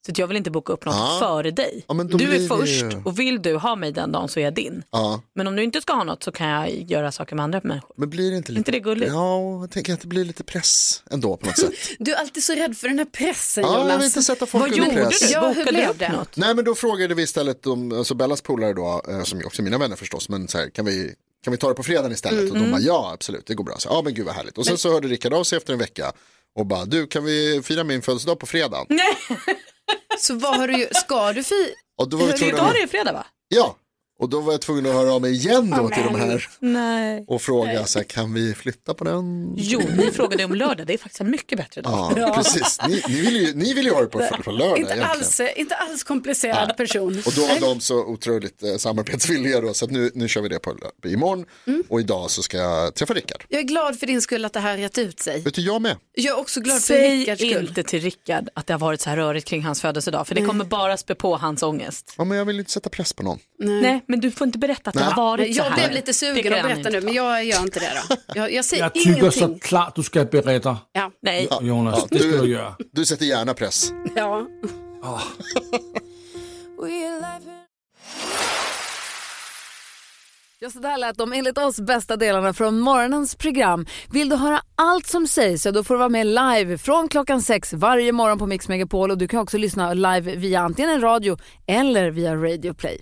[SPEAKER 5] Så att jag vill inte boka upp något
[SPEAKER 2] Ja.
[SPEAKER 5] före dig.
[SPEAKER 2] Ja, men då
[SPEAKER 5] du är
[SPEAKER 2] blir det ju-
[SPEAKER 5] först och vill du ha mig den dagen så är jag din.
[SPEAKER 2] Ja.
[SPEAKER 5] Men om du inte ska ha något så kan jag göra saker med andra människor.
[SPEAKER 2] Men blir det inte lite...
[SPEAKER 5] inte det gulligt?
[SPEAKER 2] Ja, jag tänker att det blir lite press ändå på något sätt.
[SPEAKER 1] Du är alltid så rädd för den här pressen,
[SPEAKER 2] Ja, jag
[SPEAKER 1] Jonas.
[SPEAKER 2] vill inte sätta folk
[SPEAKER 1] Vad
[SPEAKER 2] under
[SPEAKER 1] gjorde
[SPEAKER 2] press.
[SPEAKER 1] du? Ja, hur
[SPEAKER 5] Bokade du
[SPEAKER 1] blev
[SPEAKER 5] upp
[SPEAKER 1] det?
[SPEAKER 5] något?
[SPEAKER 2] Nej, men då frågade vi istället, de, alltså Bellas polare då, eh, som ju också är mina vänner förstås, men så här, kan vi, kan vi ta det på fredagen istället?
[SPEAKER 1] Mm.
[SPEAKER 2] Och de bara,
[SPEAKER 1] Mm.
[SPEAKER 2] ja absolut, det går bra. Så, ja, men gud vad härligt. Och sen så hörde Rickard av sig efter en vecka och bara, du kan vi fira min födelsedag på fredagen?
[SPEAKER 1] Så vad har du, ju- ska du fira?
[SPEAKER 2] Och då var vi tvungna-
[SPEAKER 5] fredag va?
[SPEAKER 2] Ja, Och då var jag tvungen att höra av mig igen då till de här
[SPEAKER 21] Nej.
[SPEAKER 2] och fråga så här, kan vi flytta på den?
[SPEAKER 21] Jo, ni frågade om lördag, det är faktiskt en mycket bättre dag.
[SPEAKER 2] Ja, precis. Ni, ni vill ju, ni vill ju ha det på, på lördag
[SPEAKER 22] inte,
[SPEAKER 2] egentligen.
[SPEAKER 22] alls, eh, inte alls komplicerad person.
[SPEAKER 2] Och då var de så otroligt eh, samarbetsvilliga då, så att nu, nu kör vi det på, på imorgon
[SPEAKER 22] Mm.
[SPEAKER 2] och idag så ska jag träffa Rickard.
[SPEAKER 22] Jag är glad för din skull att det här har rett ut sig.
[SPEAKER 2] Vet du, jag med.
[SPEAKER 22] Jag är också glad för
[SPEAKER 21] Säg
[SPEAKER 22] Rickards skull.
[SPEAKER 21] inte till Rickard att det har varit så här rörigt kring hans födelsedag, för det
[SPEAKER 22] Nej.
[SPEAKER 21] kommer bara spä på hans ångest.
[SPEAKER 2] Ja, men jag vill inte sätta press på någon.
[SPEAKER 21] Nej, men du får inte berätta att det
[SPEAKER 2] Nej.
[SPEAKER 21] har varit
[SPEAKER 22] Nej,
[SPEAKER 21] så här.
[SPEAKER 22] Jag blev lite sugen att berätta nu, men jag gör inte det då. Jag, jag säger
[SPEAKER 3] Jag tycker
[SPEAKER 22] ingenting.
[SPEAKER 3] såklart du ska berätta.
[SPEAKER 22] Ja.
[SPEAKER 21] Nej.
[SPEAKER 3] Ja, Jonas, det ska du göra.
[SPEAKER 2] Du sätter gärna press.
[SPEAKER 22] Ja.
[SPEAKER 1] Ja, så där lät de enligt oss bästa delarna från morgonens program. Vill du höra allt som sägs så då får du vara med live från klockan sex varje morgon på Mix Megapol och du kan också lyssna live via antingen en radio eller via Radio Play.